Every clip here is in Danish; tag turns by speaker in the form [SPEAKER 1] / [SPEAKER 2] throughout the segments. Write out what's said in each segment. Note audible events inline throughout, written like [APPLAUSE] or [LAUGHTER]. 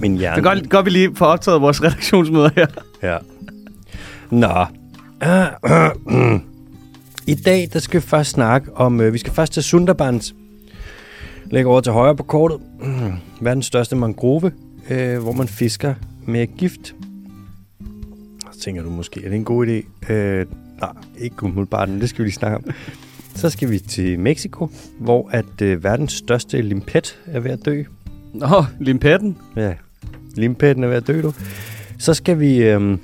[SPEAKER 1] Min hjerne.
[SPEAKER 2] Det er godt, godt, vi lige får optaget vores redaktionsmøder her.
[SPEAKER 1] Ja. Nå. I dag, der skal vi først snakke om... Øh, vi skal først til Sundarbans. Lægge over til højre på kortet. Verdens største mangrove, øh, hvor man fisker med gift. Så tænker du måske, er det en god idé? Øh, nej, ikke umiddelbart, men det skal vi lige snakke om. Så skal vi til Mexico, hvor at øh, verdens største limpet er ved at dø.
[SPEAKER 2] Nå, limpetten.
[SPEAKER 1] Ja, limpetten er ved at dø, du. Så skal vi øhm,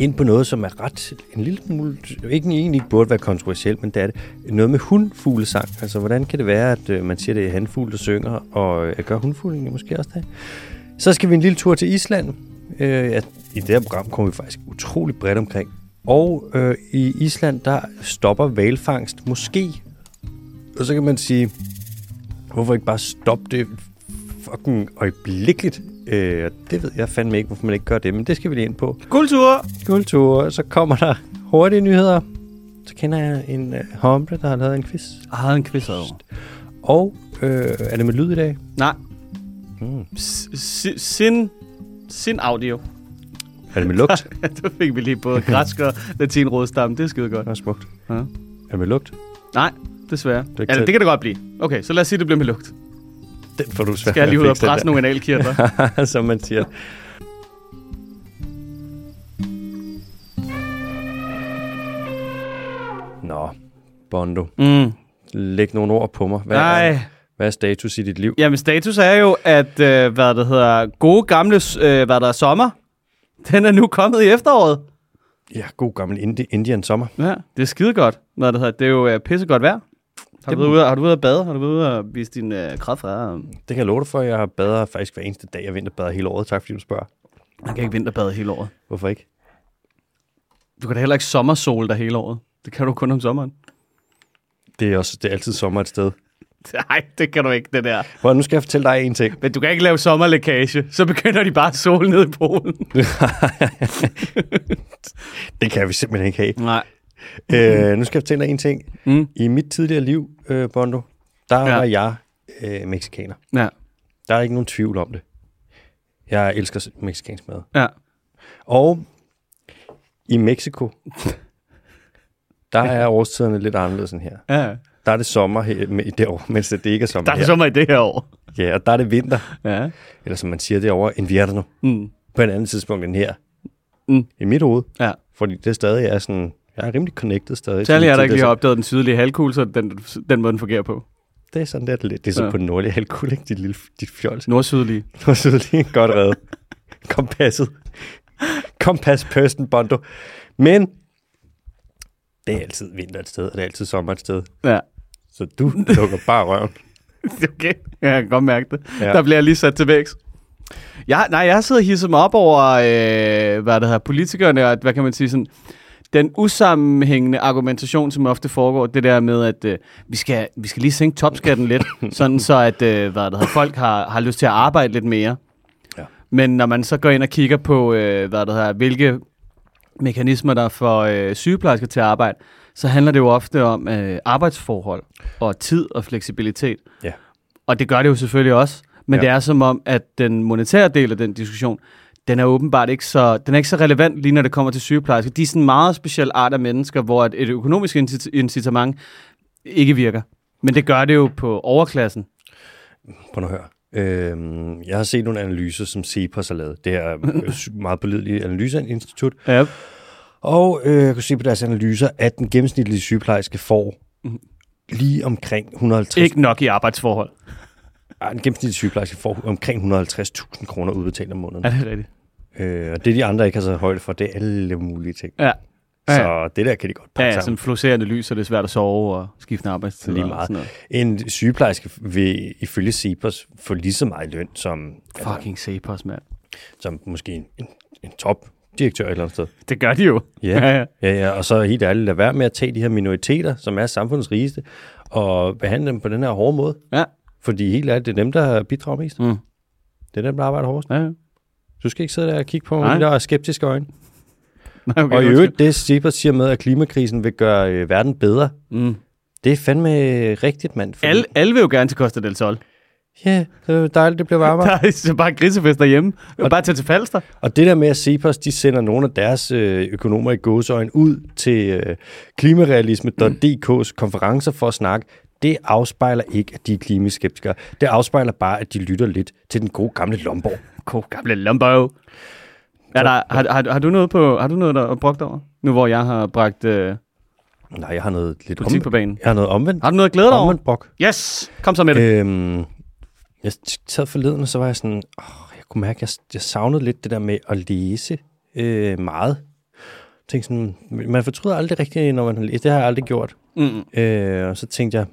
[SPEAKER 1] ind på noget, som er ret en lille smule, ikke egentlig ikke burde være kontroversielt, men det er det. Noget med hundfuglesang. Altså, hvordan kan det være, at øh, man siger, det er handfugle, der synger, og øh, gør hundfugle egentlig måske også det? Så skal vi en lille tur til Island. Øh, ja, I det her program kommer vi faktisk utrolig bredt omkring. Og øh, i Island, der stopper valfangst måske. Og så kan man sige, hvorfor ikke bare stoppe det fucking øjeblikkeligt. Øh, og det ved jeg fandme ikke, hvorfor man ikke gør det, men det skal vi lige ind på.
[SPEAKER 2] Kultur!
[SPEAKER 1] Kultur, så kommer der hurtige nyheder. Så kender jeg en øh, hombre, der har lavet en quiz.
[SPEAKER 2] Jeg havde en quiz over.
[SPEAKER 1] Og øh, er det med lyd i dag?
[SPEAKER 2] Nej.
[SPEAKER 1] Mm.
[SPEAKER 2] S- si- Sin... Sin audio.
[SPEAKER 1] Er det med [LAUGHS] lugt?
[SPEAKER 2] [LAUGHS] Der fik vi lige både græsk og latin rådstamme. Det er skide godt.
[SPEAKER 1] Det er smukt.
[SPEAKER 2] Ja.
[SPEAKER 1] Er det med lugt?
[SPEAKER 2] Nej, desværre. Det,
[SPEAKER 1] ikke
[SPEAKER 2] Eller,
[SPEAKER 1] til-
[SPEAKER 2] det kan det godt blive. Okay, så lad os sige, at det bliver med lugt.
[SPEAKER 1] Den får du svært
[SPEAKER 2] Skal jeg lige ud
[SPEAKER 1] ved
[SPEAKER 2] og
[SPEAKER 1] at fikse,
[SPEAKER 2] presse
[SPEAKER 1] den
[SPEAKER 2] nogle [LAUGHS] analkirtler?
[SPEAKER 1] [LAUGHS] der. Som man siger. Nå, Bondo.
[SPEAKER 2] mm.
[SPEAKER 1] Læg nogle ord på mig. Hvad,
[SPEAKER 2] Nej.
[SPEAKER 1] er, hvad er status i dit liv?
[SPEAKER 2] Jamen, status er jo, at øh, hvad det hedder, gode gamle øh, hvad der er sommer, den er nu kommet i efteråret.
[SPEAKER 1] Ja, god gammel Indi- Indian sommer.
[SPEAKER 2] Ja, det er skide godt. Hvad det hedder, det er jo øh, pissegodt vejr. Har du, været ude, har du været ude at bade? Har du været ude at vise din øh, kraft fra?
[SPEAKER 1] Det kan jeg love dig for, jeg bader faktisk hver eneste dag, jeg vinterbader hele året. Tak fordi du spørger.
[SPEAKER 2] Man kan ikke vinterbade hele året.
[SPEAKER 1] Hvorfor ikke?
[SPEAKER 2] Du kan da heller ikke sommersol der hele året. Det kan du kun om sommeren.
[SPEAKER 1] Det er, også, det er altid sommer et sted.
[SPEAKER 2] [LAUGHS] Nej, det kan du ikke, det der.
[SPEAKER 1] Hvor nu skal jeg fortælle dig en ting.
[SPEAKER 2] Men du kan ikke lave sommerlækage. Så begynder de bare at sole ned i Polen.
[SPEAKER 1] Det kan vi simpelthen ikke [LAUGHS] have.
[SPEAKER 2] Nej.
[SPEAKER 1] øh, nu skal jeg fortælle dig en ting.
[SPEAKER 2] Mm.
[SPEAKER 1] I mit tidligere liv, øh, Bondo, der
[SPEAKER 2] Ja.
[SPEAKER 1] ja. var jeg øh, meksikaner.
[SPEAKER 2] Ja.
[SPEAKER 1] Der er ikke nogen tvivl om det. Jeg elsker meksikansk mad.
[SPEAKER 2] Ja.
[SPEAKER 1] Og i [LAUGHS] Mexico, der er årstiderne lidt anderledes end her.
[SPEAKER 2] ja.
[SPEAKER 1] Der er det sommer her, med- derovre, mens det ikke er sommer
[SPEAKER 2] Der er
[SPEAKER 1] her.
[SPEAKER 2] sommer i det her år.
[SPEAKER 1] Ja, og der er det vinter.
[SPEAKER 2] Ja.
[SPEAKER 1] eller som man siger derovre, invierno,
[SPEAKER 2] Mm.
[SPEAKER 1] på en anden tidspunkt end her.
[SPEAKER 2] Mm.
[SPEAKER 1] I mit hoved,
[SPEAKER 2] Ja.
[SPEAKER 1] fordi det stadig er sådan, jeg er rimelig connected stadig.
[SPEAKER 2] Særlig er der ikke lige har
[SPEAKER 1] op.
[SPEAKER 2] opdaget den sydlige halvkugle, så den, den måde, den fungerer på.
[SPEAKER 1] Det er sådan, det er, lidt. det er sådan
[SPEAKER 2] Ja.
[SPEAKER 1] ja. på den nordlige halvkugle, ikke? Dit, lille, dit fjols. [LAUGHS]
[SPEAKER 2] Nordsydlige.
[SPEAKER 1] Nu sidder lige godt reddet. Kompasset. Kompas person bondo. Men det er altid vinter et sted, og det er altid sommer et sted.
[SPEAKER 2] Ja.
[SPEAKER 1] Så
[SPEAKER 2] [LAUGHS]
[SPEAKER 1] du lukker bare røven. [LAUGHS]
[SPEAKER 2] Okay, ja, jeg kan godt mærke det. Ja.
[SPEAKER 1] Ja.
[SPEAKER 2] Der bliver jeg lige sat til vækst. Jeg, nej, jeg sidder og hisser mig op over, øh, hvad det hedder, politikerne, og at, hvad kan man sige, sådan, den usammenhængende argumentation, som ofte foregår, det der med, at øh, vi, skal, vi skal lige sænke topskatten
[SPEAKER 1] [LAUGHS]
[SPEAKER 2] lidt, sådan så at øh, hvad det hedder, folk har, har lyst til at arbejde lidt mere. Ja.
[SPEAKER 1] Ja.
[SPEAKER 2] Men når man så går ind og kigger på, øh, hvad det hedder, hvilke mekanismer, der får øh, sygeplejersker til at arbejde, så handler det jo ofte om øh, arbejdsforhold og tid og fleksibilitet.
[SPEAKER 1] Ja.
[SPEAKER 2] Og det gør det jo selvfølgelig også. Men ja.
[SPEAKER 1] Ja.
[SPEAKER 2] det er som om, at den monetære del af den diskussion, den er åbenbart ikke så, den er ikke så relevant lige når det kommer til sygeplejersker. De er sådan en meget speciel art af mennesker, hvor et, et økonomisk incit- incitament ikke virker. Men det gør det jo på overklassen.
[SPEAKER 1] Prøv nu at høre. Øhm, jeg har set nogle analyser, som Cepos har lavet. Det
[SPEAKER 2] [LAUGHS]
[SPEAKER 1] her øh, meget pålidelige analyseinstitut.
[SPEAKER 2] Ja.
[SPEAKER 1] Og øh, jeg kunne se på deres analyser, at den gennemsnitlige sygeplejerske får lige omkring 150...
[SPEAKER 2] Mhm. Ikke nok i arbejdsforhold.
[SPEAKER 1] Ej, den gennemsnitlige sygeplejerske får omkring 150.000 kroner udbetalt om måneden.
[SPEAKER 2] Er det rigtigt?
[SPEAKER 1] Øh, og det, de andre ikke har taget højde for, det er alle mulige ting.
[SPEAKER 2] Ja. Ja, ja.
[SPEAKER 1] Så det der kan de godt
[SPEAKER 2] Ja,
[SPEAKER 1] pakke
[SPEAKER 2] ja
[SPEAKER 1] sammen.
[SPEAKER 2] som fluorescerende lys, så det er svært at sove og skifte arbejdstid.
[SPEAKER 1] Lige
[SPEAKER 2] og
[SPEAKER 1] meget.
[SPEAKER 2] sådan noget.
[SPEAKER 1] En sygeplejerske vil ifølge Cepos få lige så meget i løn, som, altså,
[SPEAKER 2] Fucking Cepos, mand.
[SPEAKER 1] som måske en, en, en topdirektør et eller andet sted.
[SPEAKER 2] Det gør de jo.
[SPEAKER 1] Ja.
[SPEAKER 2] ja, ja.
[SPEAKER 1] Ja, ja, og så helt ærligt, lad være med at tage de her minoriteter, som er samfundets rigeste, og behandle dem på den her hårde måde.
[SPEAKER 2] ja.
[SPEAKER 1] Fordi helt ærligt, det er dem, der bidrager mest.
[SPEAKER 2] Mm.
[SPEAKER 1] Det er dem, der arbejder hårdest.
[SPEAKER 2] ja, ja.
[SPEAKER 1] Du skal ikke sidde der og kigge på mig
[SPEAKER 2] Nej.
[SPEAKER 1] med de der skeptiske øjne.
[SPEAKER 2] Nej, okay,
[SPEAKER 1] og i
[SPEAKER 2] undskyld.
[SPEAKER 1] øvrigt, det Cepos siger med, at klimakrisen vil gøre øh, verden bedre,
[SPEAKER 2] Mm.
[SPEAKER 1] det er fandme rigtigt, mand. Fordi-
[SPEAKER 2] Alle, alle vil jo gerne til Costa del Sol.
[SPEAKER 1] Ja, det var dejligt, det blev varmere.
[SPEAKER 2] [LAUGHS] Der er så bare grisefest derhjemme. Og bare tage til Falster.
[SPEAKER 1] Og det der med, at Cepos de sender nogle af deres øh, økonomer i gåsøjen ud til øh, klimarealisme.dk's konferencer for at snakke, det afspejler ikke, at de er klimaskeptikere. Det afspejler bare, at de lytter lidt til den gode gamle Lomborg.
[SPEAKER 2] God gamle Lumbo. Er der, har, har, har, du noget på, har du noget, der er brugt over? Nu hvor jeg har bragt øh,
[SPEAKER 1] Nej, jeg har noget lidt
[SPEAKER 2] politik på
[SPEAKER 1] omvendt.
[SPEAKER 2] banen.
[SPEAKER 1] Jeg har noget omvendt.
[SPEAKER 2] Har du noget at glæde dig over?
[SPEAKER 1] Omvendt brok.
[SPEAKER 2] Yes! Kom så med det.
[SPEAKER 1] Øhm, jeg sad forleden, og så var jeg sådan, åh, jeg kunne mærke, at jeg, jeg savnede lidt det der med at læse øh, meget. Jeg tænkte sådan, man fortryder aldrig rigtigt, når man har læst. Det har jeg aldrig gjort.
[SPEAKER 2] Mm.
[SPEAKER 1] Øh, og så tænkte jeg,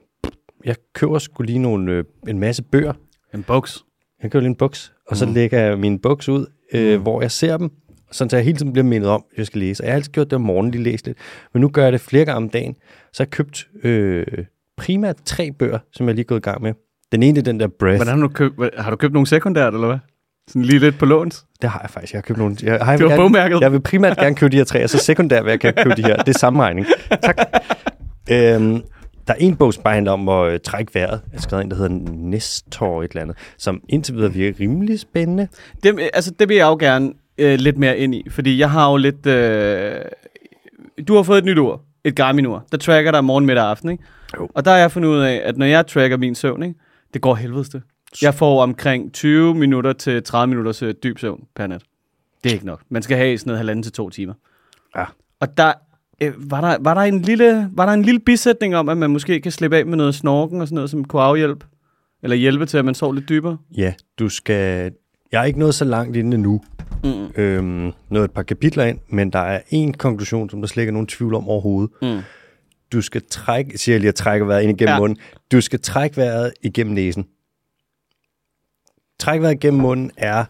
[SPEAKER 1] jeg køber sgu lige nogle, øh, en masse bøger.
[SPEAKER 2] En boks.
[SPEAKER 1] Jeg køber lige en boks, og så mm. lægger jeg min boks ud, øh, mm. hvor jeg ser dem. Sådan, så jeg hele tiden bliver mindet om, at jeg skal læse. Og jeg har altid gjort det om morgenen, lige læst lidt. Men nu gør jeg det flere gange om dagen. Så har jeg købt øh, primært tre bøger, som jeg lige er gået i gang med. Den ene det er den der Breath.
[SPEAKER 2] Hvordan har du købt, har du købt nogle sekundært, eller hvad? Sådan lige lidt på låns.
[SPEAKER 1] Det har jeg faktisk. Jeg har købt nogle. Jeg, jeg,
[SPEAKER 2] Det var
[SPEAKER 1] jeg,
[SPEAKER 2] bogmærket.
[SPEAKER 1] jeg vil primært gerne købe de her tre, og så sekundært vil jeg gerne købe de her. Det er samme regning. Tak. Øhm, der er en bog, som bare handler om at øh, trække vejret. Jeg har skrevet en, der hedder Nestor et eller andet, som indtil videre virker rimelig spændende.
[SPEAKER 2] Det, altså, det vil jeg jo gerne øh, lidt mere ind i, fordi jeg har jo lidt... Øh, du har fået et nyt ur, et Garmin-ur, der tracker dig morgen, middag og aften, ikke?
[SPEAKER 1] Jo.
[SPEAKER 2] Og der har jeg fundet ud af, at når jeg tracker min søvn, ikke, det går helvedeste. Jeg får omkring 20 minutter til 30 minutters øh, dyb søvn per nat. Det er ikke nok. Man skal have sådan noget halvanden til to timer.
[SPEAKER 1] Ja.
[SPEAKER 2] Og der, øh, var, der, var, der en lille, var der en lille bisætning om, at man måske kan slippe af med noget snorken og sådan noget, som kunne afhjælpe? Eller hjælpe til, at man sover lidt dybere?
[SPEAKER 1] Ja, du skal... Jeg er ikke nået så langt inden endnu.
[SPEAKER 2] Mm.
[SPEAKER 1] Øhm, nået et par kapitler ind, men der er en konklusion, som der slet ikke er nogen tvivl om overhovedet.
[SPEAKER 2] Mm.
[SPEAKER 1] Du skal trække, siger jeg lige, at trække vejret ind igennem
[SPEAKER 2] Ja.
[SPEAKER 1] ja. munden. Du skal trække vejret igennem næsen. Trække vejret igennem munden er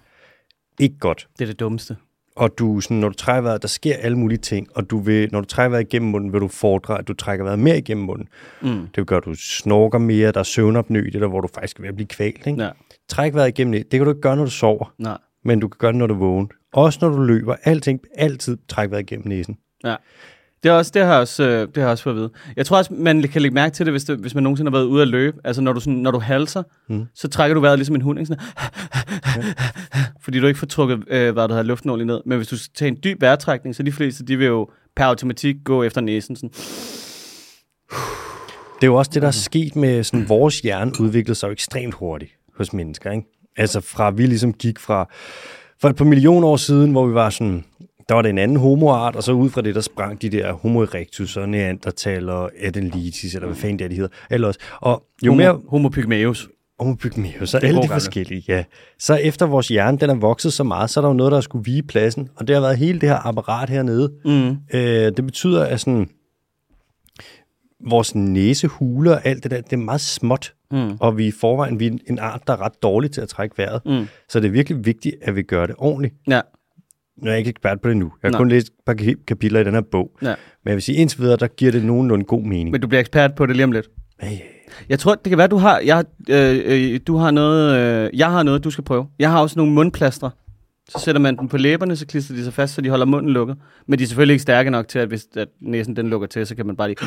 [SPEAKER 1] ikke godt.
[SPEAKER 2] Det er det dummeste.
[SPEAKER 1] og du, sådan, når du trækker vejret, der sker alle mulige ting, og du vil, når du trækker vejret igennem munden, vil du fordre, at du trækker vejret mere igennem munden.
[SPEAKER 2] Mm.
[SPEAKER 1] Det gør, at du snorker mere, der er søvnopnø, det er der, hvor du faktisk er ved at blive kvalt. Ikke?
[SPEAKER 2] Ja,
[SPEAKER 1] Træk vejret igennem det, det kan du ikke gøre, når du sover,
[SPEAKER 2] nej.
[SPEAKER 1] men du kan gøre det, når du er vågen. Også når du løber, alting, altid træk vejret igennem næsen.
[SPEAKER 2] Ja. Det, er også, det, har jeg også, øh, det har jeg også fået at vide. Jeg tror også, man kan lægge mærke til det, hvis, det, hvis man nogensinde har været ude at løbe. Altså, når du, sådan, når du halser, mm. så trækker du vejret ligesom en hund. Ikke? Sådan, [LAUGHS] fordi du ikke får trukket øh, hvad der hedder, luften ordentligt ned. Men hvis du tager en dyb vejrtrækning, så de fleste, de vil jo per automatik gå efter næsen. Sådan.
[SPEAKER 1] Det er jo også det, der er sket med, sådan, vores hjerne udviklede sig jo ekstremt hurtigt hos mennesker. Ikke? Altså fra, vi ligesom gik fra, for et par millioner år siden, hvor vi var sådan, der var det en anden homoart, og så ud fra det, der sprang de der homo erectus og neandertal og adelitis, eller hvad fanden det er, de hedder. Ellers. Og jo mere
[SPEAKER 2] Homo, homo pygmæus.
[SPEAKER 1] homobygmeus og
[SPEAKER 2] er
[SPEAKER 1] alle de
[SPEAKER 2] god gammel.
[SPEAKER 1] forskellige, ja. Så efter vores hjerne, den er vokset så meget, så er der jo noget, der skulle vige pladsen, og det har været hele det her apparat hernede.
[SPEAKER 2] Mm.
[SPEAKER 1] Øh, det betyder, at sådan, vores næsehuler og alt det der, det er meget småt.
[SPEAKER 2] Mm.
[SPEAKER 1] Og vi er i forvejen vi er en- en art, der er ret dårlig til at trække vejret.
[SPEAKER 2] Mm.
[SPEAKER 1] Så det er virkelig vigtigt, at vi gør det ordentligt.
[SPEAKER 2] Ja,
[SPEAKER 1] Nu er jeg ikke ekspert på det nu. Jeg har
[SPEAKER 2] Nej.
[SPEAKER 1] kun læst et par kap- kapitler i den her bog.
[SPEAKER 2] ja.
[SPEAKER 1] Men jeg vil sige, indtil videre, der giver det nogenlunde god mening.
[SPEAKER 2] Men du bliver ekspert på det lige om lidt.
[SPEAKER 1] Hey,
[SPEAKER 2] Jeg tror, det kan være, du har, jeg, øh, øh, du har noget, øh, jeg har noget, du skal prøve. Jeg har også nogle mundplaster. Så sætter man dem på læberne, så klister de sig fast, så de holder munden lukket. Men de er selvfølgelig ikke stærke nok til, at hvis at næsen den lukker til, så kan man bare lige... [GASPS]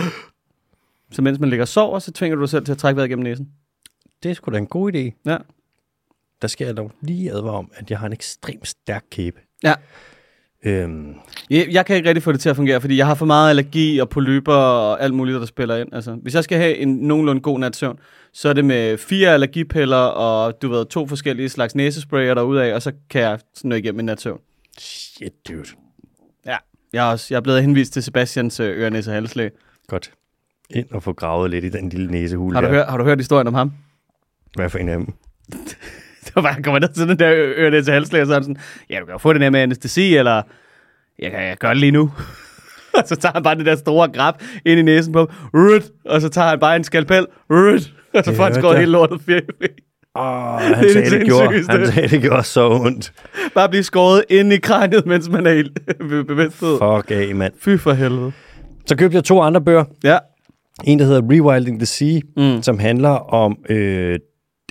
[SPEAKER 2] Så mens man ligger og sover, så tvinger du dig selv til at trække vejret gennem næsen.
[SPEAKER 1] det er sgu da en god idé.
[SPEAKER 2] Ja.
[SPEAKER 1] Der skal jeg dog lige advare om, at jeg har en ekstremt stærk kæbe.
[SPEAKER 2] Ja.
[SPEAKER 1] Øhm,
[SPEAKER 2] Jeg, jeg kan ikke rigtig få det til at fungere, fordi jeg har for meget allergi og polyper og alt muligt, der spiller ind. Altså, hvis jeg skal have en nogenlunde god nats søvn, så er det med fire allergipiller og du ved, to forskellige slags næsesprayer derudaf, og så kan jeg sådan nå igennem en nats søvn.
[SPEAKER 1] shit, dude.
[SPEAKER 2] Ja, jeg er, også, jeg er blevet henvist til Sebastians øh, øre, næse og halslæge.
[SPEAKER 1] Godt. Ind og få gravet lidt i den lille næsehule
[SPEAKER 2] Har, du
[SPEAKER 1] der.
[SPEAKER 2] hørt, har du hørt historien om ham?
[SPEAKER 1] Hvad for en af dem?
[SPEAKER 2] Så var han kommer ned til den [LAUGHS] der ø- øre, næse og halslæge, og så er han sådan, ja, du kan jo få den her med anestesi, eller jeg kan jeg gør det lige nu. [LAUGHS] og så tager han bare det der store grab ind i næsen på ham, Rut! og så tager han bare en skalpel, Rut! [LAUGHS] og så får han
[SPEAKER 1] hørte
[SPEAKER 2] skåret
[SPEAKER 1] jeg.
[SPEAKER 2] hele lortet fire.
[SPEAKER 1] Åh,
[SPEAKER 2] Det
[SPEAKER 1] han,
[SPEAKER 2] er
[SPEAKER 1] sagde,
[SPEAKER 2] det
[SPEAKER 1] det gjorde,
[SPEAKER 2] sindssygeste.
[SPEAKER 1] han sagde, det gjorde så ondt.
[SPEAKER 2] Bare blive skåret ind i kraniet, mens man er helt [LAUGHS] ved bevidsthed.
[SPEAKER 1] Fuck af, mand.
[SPEAKER 2] Fy for helvede.
[SPEAKER 1] Så købte jeg to andre bøger.
[SPEAKER 2] Ja.
[SPEAKER 1] En, der hedder Rewilding the Sea,
[SPEAKER 2] Mm.
[SPEAKER 1] mm. som handler om, øh,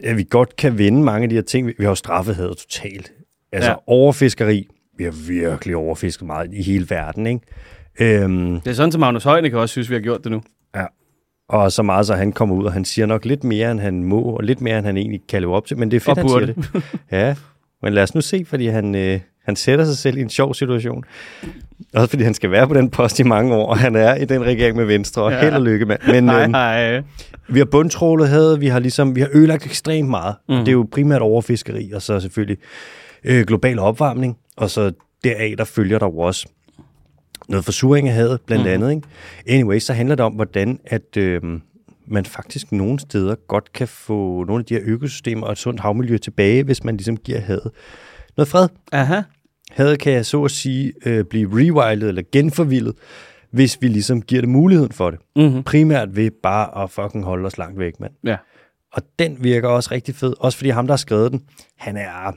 [SPEAKER 1] at vi godt kan vinde mange af de her ting. Vi vi har jo straffehed totalt. Altså
[SPEAKER 2] Ja.
[SPEAKER 1] ja. overfiskeri. Vi har virkelig overfisket meget i hele verden, ikke? Øhm,
[SPEAKER 2] Det er sådan, at Magnus Heunicke også synes, vi har gjort det nu.
[SPEAKER 1] Og så meget, så han kommer ud, og han siger nok lidt mere, end han må, og lidt mere, end han egentlig kan leve op til. Men det er fedt,
[SPEAKER 2] Og
[SPEAKER 1] han siger
[SPEAKER 2] burde.
[SPEAKER 1] det. Ja, men lad os nu se, fordi han, øh, han sætter sig selv i en sjov situation. Også fordi han skal være på den post i mange år, og han er i den regering med Venstre, og
[SPEAKER 2] Ja.
[SPEAKER 1] ja. held og lykke, mand. Men
[SPEAKER 2] Nej,
[SPEAKER 1] øhm,
[SPEAKER 2] nej.
[SPEAKER 1] vi har bundtrålet havet, vi har ligesom, vi har ødelagt ekstremt meget. Mm. Det er jo primært overfiskeri, og så selvfølgelig øh, global opvarmning, og så deraf, der følger der jo også noget forsuring af havet, blandt mm. andet. Ikke? Anyway, så handler det om, hvordan at, øh, man faktisk nogle steder godt kan få nogle af de her økosystemer og et sundt havmiljø tilbage, hvis man ligesom giver havet noget fred.
[SPEAKER 2] Aha.
[SPEAKER 1] Havet kan jeg så at sige øh, blive rewildet eller genforvildet, hvis vi ligesom giver det muligheden for det.
[SPEAKER 2] Mhm.
[SPEAKER 1] Primært ved bare at fucking holde os langt væk, mand.
[SPEAKER 2] Ja.
[SPEAKER 1] Og den virker også rigtig fed, også fordi ham, der har skrevet den, han er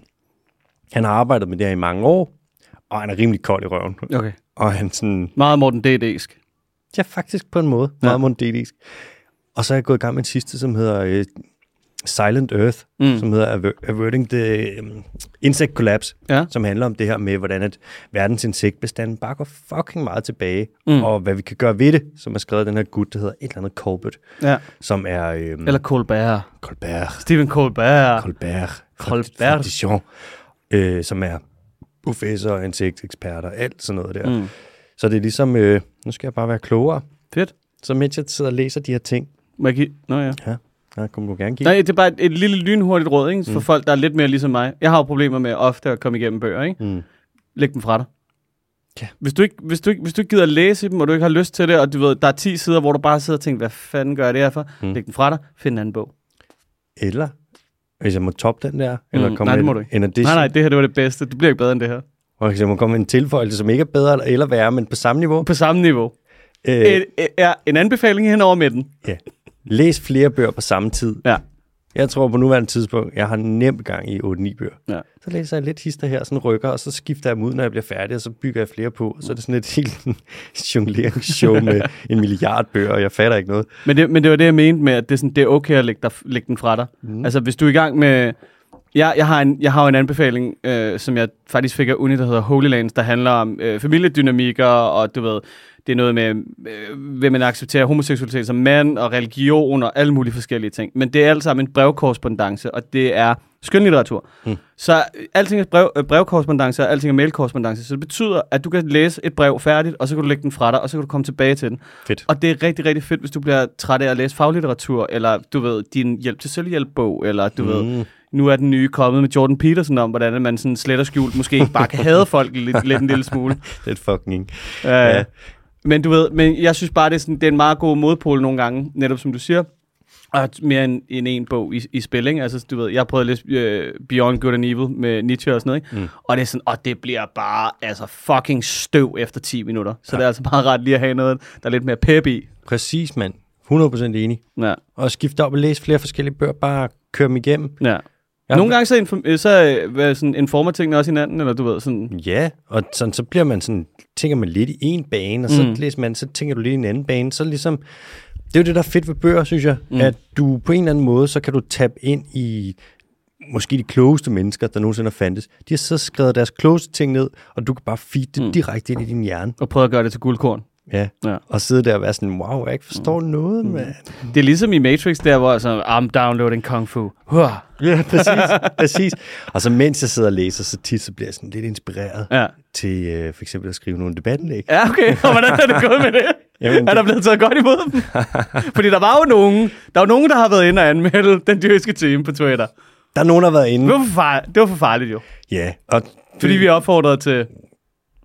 [SPEAKER 1] han har arbejdet med det her i mange år, og han er rimelig kold i røven.
[SPEAKER 2] Okay.
[SPEAKER 1] Og han sådan,
[SPEAKER 2] Meget Morten D.D.'sk.
[SPEAKER 1] ja faktisk på en måde, meget ja. mondelisk. Og så er jeg gået i gang med en sidste, som hedder øh, Silent Earth, mm. som hedder Aver- Averting the um, Insect Collapse,
[SPEAKER 2] Ja.
[SPEAKER 1] som handler om det her med, hvordan at verdens insektbestand bare går fucking meget tilbage, mm. og hvad vi kan gøre ved det, som er skrevet af den her gut, der hedder et eller andet Colbert,
[SPEAKER 2] Ja.
[SPEAKER 1] som er... Øh,
[SPEAKER 2] Eller Colbert.
[SPEAKER 1] Colbert.
[SPEAKER 2] Stephen Colbert.
[SPEAKER 1] Colbert. fra-
[SPEAKER 2] Colbert.
[SPEAKER 1] fra Dijon, øh, som er professor og insektekspert og alt sådan noget der. Mm. Så det er ligesom, øh, nu skal jeg bare være klogere.
[SPEAKER 2] Fedt.
[SPEAKER 1] Så mens jeg sidder og læser de her ting,
[SPEAKER 2] Må jeg give? Nå ja.
[SPEAKER 1] ja, der kunne du gerne give.
[SPEAKER 2] Nej, det er bare et, et lille lynhurtigt råd ikke? for mm. folk, der er lidt mere ligesom mig. Jeg har jo problemer med ofte at komme igennem bøger. Ikke?
[SPEAKER 1] Mm.
[SPEAKER 2] Læg dem fra dig.
[SPEAKER 1] Ja.
[SPEAKER 2] Hvis, du ikke, hvis, du ikke, hvis du ikke gider at læse dem, og du ikke har lyst til det, og du ved, der er 10 sider, hvor du bare sidder og tænker, hvad fanden gør jeg det her for? Mm. Læg dem fra dig. Find en anden bog.
[SPEAKER 1] Eller, hvis jeg må toppe den der, eller
[SPEAKER 2] Mm,
[SPEAKER 1] komme
[SPEAKER 2] nej,
[SPEAKER 1] med
[SPEAKER 2] det må du
[SPEAKER 1] en,
[SPEAKER 2] ikke.
[SPEAKER 1] en addition,
[SPEAKER 2] Nej, nej, det her det var det bedste. Det bliver ikke bedre end det her.
[SPEAKER 1] og hvis jeg må komme med en tilføjelse, som ikke er bedre eller- eller værre, men på samme niveau.
[SPEAKER 2] På samme niveau.
[SPEAKER 1] Øh,
[SPEAKER 2] Øh. Et, er en anbefaling hen over midten.
[SPEAKER 1] ja. Læs flere bøger på samme tid.
[SPEAKER 2] Ja.
[SPEAKER 1] Jeg tror på nuværende tidspunkt, jeg har nemt gang i 8-9 bøger.
[SPEAKER 2] ja.
[SPEAKER 1] Så læser jeg lidt hister her, sådan rykker, og så skifter jeg dem ud, når jeg bliver færdig, og så bygger jeg flere på. Og så er det sådan et [LAUGHS] helt jongleringsshow
[SPEAKER 2] [LAUGHS]
[SPEAKER 1] med en milliard bøger, og jeg fatter ikke noget.
[SPEAKER 2] Men det, men det var det, jeg mente med, at det er, sådan, det er okay at lægge, dig, lægge den fra dig. Mm. Altså, hvis du er i gang med... Jeg, jeg, har, en, jeg har jo en anbefaling, øh, som jeg faktisk fik af Uni, der hedder Holy Lands, der handler om øh, familiedynamikker, og du ved, det er noget med, øh, vil man acceptere homoseksualitet som mand, og religion, og alle mulige forskellige ting. Men det er alt sammen en brevkorrespondence, og det er skønlitteratur. Mm. Så øh, alting er brev, øh, brevkorrespondence, og alting er mailkorrespondence, så det betyder, at du kan læse et brev færdigt, og så kan du lægge den fra dig, og så kan du komme tilbage til den.
[SPEAKER 1] Fedt.
[SPEAKER 2] Og det er rigtig, rigtig fedt, hvis du bliver træt af at læse faglitteratur, eller du ved, din hjælp til selvhjælpbog, eller du mm. ved, nu er den nye kommet med Jordan Peterson om, hvordan man sådan slet og skjult måske bare kan [LAUGHS] hade folk lidt, lidt en lille smule.
[SPEAKER 1] Det er fucking...
[SPEAKER 2] Øh, ja. Men du ved, men jeg synes bare, det er, sådan, det er en meget god modpol nogle gange, netop som du siger. Og t- mere end, end en bog i, i spil, ikke? Altså, du ved, jeg har prøvet at læse øh, Beyond Good and Evil med Nietzsche og sådan noget, ikke? Mm. Og det er sådan, og det bliver bare, altså, fucking støv efter 10 minutter. Så ja. det er altså meget rart lige at have noget, der er lidt mere pep i.
[SPEAKER 1] Præcis, mand. 100% enig.
[SPEAKER 2] Ja.
[SPEAKER 1] Og skifte op og læse flere forskellige bøger. Bare køre dem igennem.
[SPEAKER 2] Ja.
[SPEAKER 1] Ja.
[SPEAKER 2] Nogle gange så, inform- øh, så øh, hvad, sådan, informer tingene også hinanden, eller du ved, sådan...
[SPEAKER 1] Ja, og sådan, så bliver man sådan, tænker man lidt i en bane, og så, mm. læser man, så tænker du lidt i en anden bane. Så ligesom, det er jo det, der er fedt ved bøger, synes jeg, mm. at du på en eller anden måde, så kan du tabe ind i måske de klogeste mennesker, der nogensinde har fandtes. De har så skrevet deres klogeste ting ned, og du kan bare feed det mm. direkte ind i din hjerne.
[SPEAKER 2] Og prøve at gøre det til guldkorn.
[SPEAKER 1] Ja.
[SPEAKER 2] Ja.
[SPEAKER 1] Og sidde der og være sådan, wow, jeg ikke forstår mm. noget, mand.
[SPEAKER 2] Det er ligesom i Matrix, der hvor sådan, I'm downloading kung fu. Huh.
[SPEAKER 1] Ja, præcis, præcis. Og så mens jeg sidder og læser, så tit så bliver jeg sådan lidt inspireret
[SPEAKER 2] Ja.
[SPEAKER 1] til øh, for eksempel at skrive nogle debatindlæg.
[SPEAKER 2] Ja, okay. [LAUGHS] Og hvordan er det gået med det? [LAUGHS] Jamen,
[SPEAKER 1] Jamen,
[SPEAKER 2] er der blevet taget godt [LAUGHS] imod dem? Fordi der var jo nogen, der var nogen, der har været inde og anmelde den dyrske time på Twitter.
[SPEAKER 1] Der er nogen, der har været inde.
[SPEAKER 2] Det var for, far- det var for farligt jo.
[SPEAKER 1] Ja, og
[SPEAKER 2] Fordi vi opfordrede til...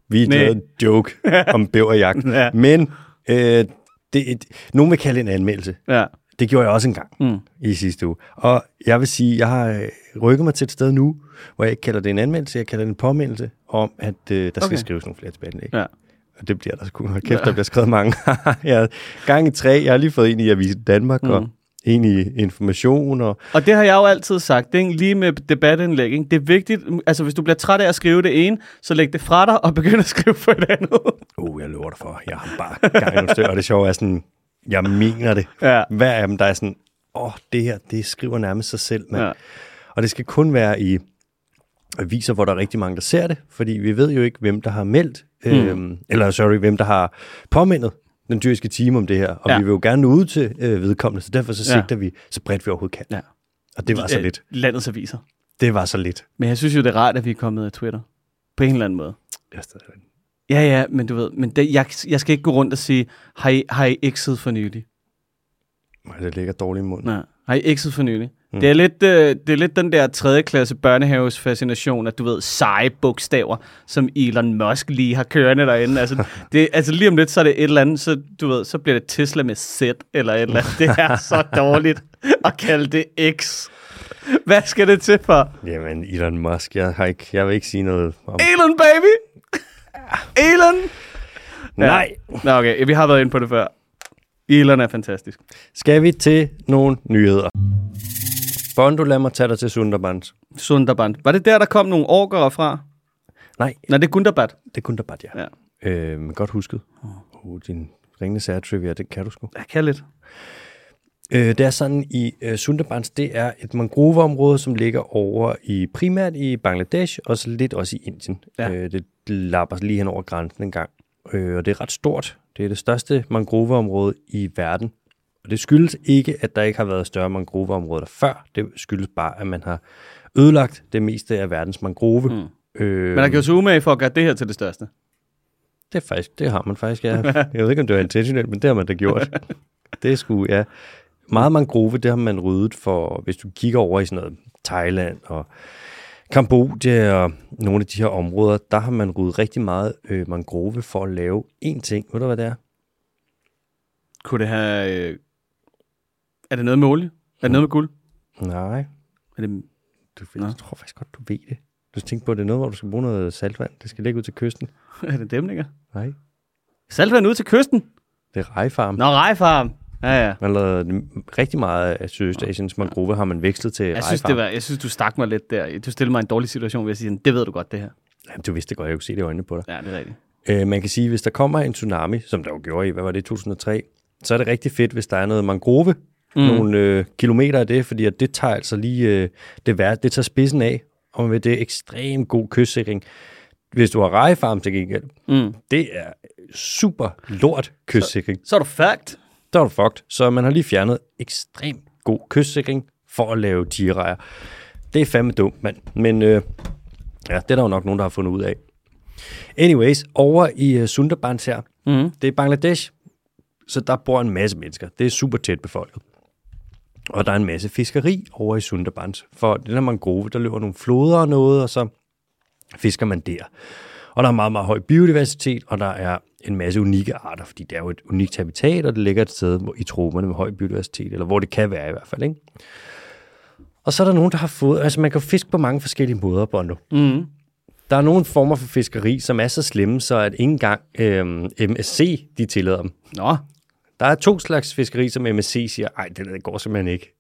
[SPEAKER 1] Vi
[SPEAKER 2] Næ.
[SPEAKER 1] lavede en
[SPEAKER 2] [LAUGHS]
[SPEAKER 1] joke om bæverjagt.
[SPEAKER 2] Ja.
[SPEAKER 1] ja. Men øh, det, det, nogen vil kalde det en anmeldelse.
[SPEAKER 2] Ja.
[SPEAKER 1] Det gjorde jeg også engang mm. i sidste uge. Og jeg vil sige, jeg har øh, rykket mig til et sted nu, hvor jeg ikke kalder det en anmeldelse, jeg kalder det en påmindelse om, at øh, der skal
[SPEAKER 2] Okay.
[SPEAKER 1] skrives nogle flere tilbagelæg.
[SPEAKER 2] ja.
[SPEAKER 1] Og det bliver der sgu. Hold kæft, der bliver skrevet mange. [LAUGHS] jeg har gang i tre. Jeg har lige fået en i Avisen Danmark, mm. og en i Information, og
[SPEAKER 2] Og det har jeg jo altid sagt, ikke? lige med debatindlæg. Ikke? Det er vigtigt, altså hvis du bliver træt af at skrive det ene, så læg det fra dig og begynd at skrive på et andet.
[SPEAKER 1] oh, jeg lover dig for, jeg har bare gang i nogle stykker. Og det sjove er sådan, jeg mener det.
[SPEAKER 2] Ja.
[SPEAKER 1] Hver af dem, der er sådan, åh, oh, det her, det skriver nærmest sig selv, mand.
[SPEAKER 2] Ja.
[SPEAKER 1] Ja. Og det skal kun være i aviser, hvor der er rigtig mange, der ser det, fordi vi ved jo ikke, hvem der har meldt, mm. øhm, eller sorry, hvem der har påmindet den dyriske time om det her, og
[SPEAKER 2] Ja.
[SPEAKER 1] ja. vi vil jo gerne nå ud til øh, vedkommende, så derfor så
[SPEAKER 2] Ja.
[SPEAKER 1] sigter vi så bredt vi overhovedet kan.
[SPEAKER 2] Ja.
[SPEAKER 1] Og det var så
[SPEAKER 2] Øh,
[SPEAKER 1] lidt.
[SPEAKER 2] Landets aviser.
[SPEAKER 1] Det var så lidt.
[SPEAKER 2] Men jeg synes jo, det er rart, at vi er kommet af Twitter. På en eller anden måde. Ja, ja, men du ved, men det, jeg, jeg skal ikke gå rundt og sige, har I, har I ekset for nylig?
[SPEAKER 1] Nej, det ligger dårligt i munden.
[SPEAKER 2] Nej, har I ekset for nylig? Mm.
[SPEAKER 1] Mm.
[SPEAKER 2] Det, er lidt, øh, det er lidt den der 3. klasse børnehaves fascination, at du ved, seje bogstaver, som Elon Musk lige har kørende derinde.
[SPEAKER 1] [LAUGHS]
[SPEAKER 2] Altså, det, altså lige om lidt, så er det et eller andet, så, du ved, så bliver det Tesla med Z eller et eller andet. Det er så dårligt at kalde det X. Hvad skal det til for?
[SPEAKER 1] Jamen, Elon Musk, jeg, har ikke, jeg vil ikke sige noget om...
[SPEAKER 2] Elon, baby! Elon!
[SPEAKER 1] Nej!
[SPEAKER 2] Nå, okay, vi har været inde på det før. Elon er fantastisk.
[SPEAKER 1] Skal vi til nogle nyheder? Bondo, lad mig tage dig til Sunderbans.
[SPEAKER 2] Sunderband. Var det der, der kom nogle orkere fra?
[SPEAKER 1] Nej,
[SPEAKER 2] Nej, det er Gunderbad.
[SPEAKER 1] det er kun der bare, ja.
[SPEAKER 2] Ja.
[SPEAKER 1] Øhm, godt husket. Oh, din ringende særtrivia, det kan du sgu.
[SPEAKER 2] Jeg kan lidt.
[SPEAKER 1] Øh, det er sådan i øh, Sundarbans, det er et mangroveområde, som ligger over i primært i Bangladesh, og så lidt også i Indien.
[SPEAKER 2] Ja.
[SPEAKER 1] Ja. Øh, det lapper lige hen over grænsen en gang. Øh, og det er ret stort. Det er det største mangroveområde i verden. Og det skyldes ikke, at der ikke har været større mangroveområder før. Det skyldes bare, at man har ødelagt det meste af verdens mangrove. Mm. Øh,
[SPEAKER 2] Men der gjorde sig umage for at gøre det her til det største.
[SPEAKER 1] det, er faktisk, det har man faktisk,
[SPEAKER 2] [LAUGHS]
[SPEAKER 1] ja. Jeg ved ikke, om det var intentionelt, men det har man da gjort. Det skulle, ja. Meget mangrove, det har man ryddet for, hvis du kigger over i sådan noget Thailand og Kambodja og nogle af de her områder, der har man ryddet rigtig meget øh, mangrove for at lave én ting. Ved du, hvad det er?
[SPEAKER 2] Kunne det have... Øh... Er det noget med olie? Er det noget med guld?
[SPEAKER 1] Nej,
[SPEAKER 2] Er det... [LAUGHS]
[SPEAKER 1] du,
[SPEAKER 2] Nå.
[SPEAKER 1] ved, jeg tror faktisk godt, du ved det. Du skal tænke på, at det er noget, hvor du skal bruge noget saltvand. Det skal ligge ud til kysten.
[SPEAKER 2] er det dæmninger?
[SPEAKER 1] Nej,
[SPEAKER 2] Saltvand ud til kysten?
[SPEAKER 1] det er rejefarm.
[SPEAKER 2] Nå, rejfarm. Ja, ja.
[SPEAKER 1] Man har lavet rigtig meget af Sydøstasiens mangrove, har man vekslet til
[SPEAKER 2] Jeg synes,
[SPEAKER 1] rejefarm.
[SPEAKER 2] det var, jeg synes, du stak mig lidt der. Du stillede mig i en dårlig situation ved at sige, det ved du godt, det her.
[SPEAKER 1] Jamen, du vidste det godt, jeg kunne se det i øjnene på dig.
[SPEAKER 2] Ja, det er rigtigt.
[SPEAKER 1] Øh, man kan sige, at hvis der kommer en tsunami, som der jo gjorde i, hvad var det, 2003, så er det rigtig fedt, hvis der er noget mangrove, mm. nogle øh, kilometer af det, fordi at det tager altså lige, øh, det, vær, det tager spidsen af, og med det er ekstremt god kystsikring. Hvis du har rejefarm til gengæld,
[SPEAKER 2] Mm.
[SPEAKER 1] det er super lort kystsikring. Så,
[SPEAKER 2] Så er du fucked.
[SPEAKER 1] der er du fucked. Så man har lige fjernet ekstremt god kystsikring for at lave tigerejer. Det er fandme dumt, mand. Men øh, ja, det er der jo nok nogen, der har fundet ud af. Anyways, over i uh, Sundarbans her,
[SPEAKER 2] Mm.
[SPEAKER 1] det er Bangladesh, så der bor en masse mennesker. Det er super tæt befolket. Og der er en masse fiskeri over i Sundarbans. For den her mangrove, der løber nogle floder og noget, og så fisker man der. Og der er meget, meget høj biodiversitet, og der er en masse unikke arter, fordi det er jo et unikt habitat, og det ligger et sted hvor- i troperne med høj biodiversitet, eller hvor det kan være i hvert fald. Ikke? Og så er der nogen, der har fået... Altså, man kan jo fiske på mange forskellige måder, Bondo.
[SPEAKER 2] Mm.
[SPEAKER 1] Der er nogle former for fiskeri, som er så slemme, så at ikke engang øhm, MSC, de tillader dem.
[SPEAKER 2] Nå,
[SPEAKER 1] Der er to slags fiskeri, som MSC siger, ej, det der går simpelthen ikke.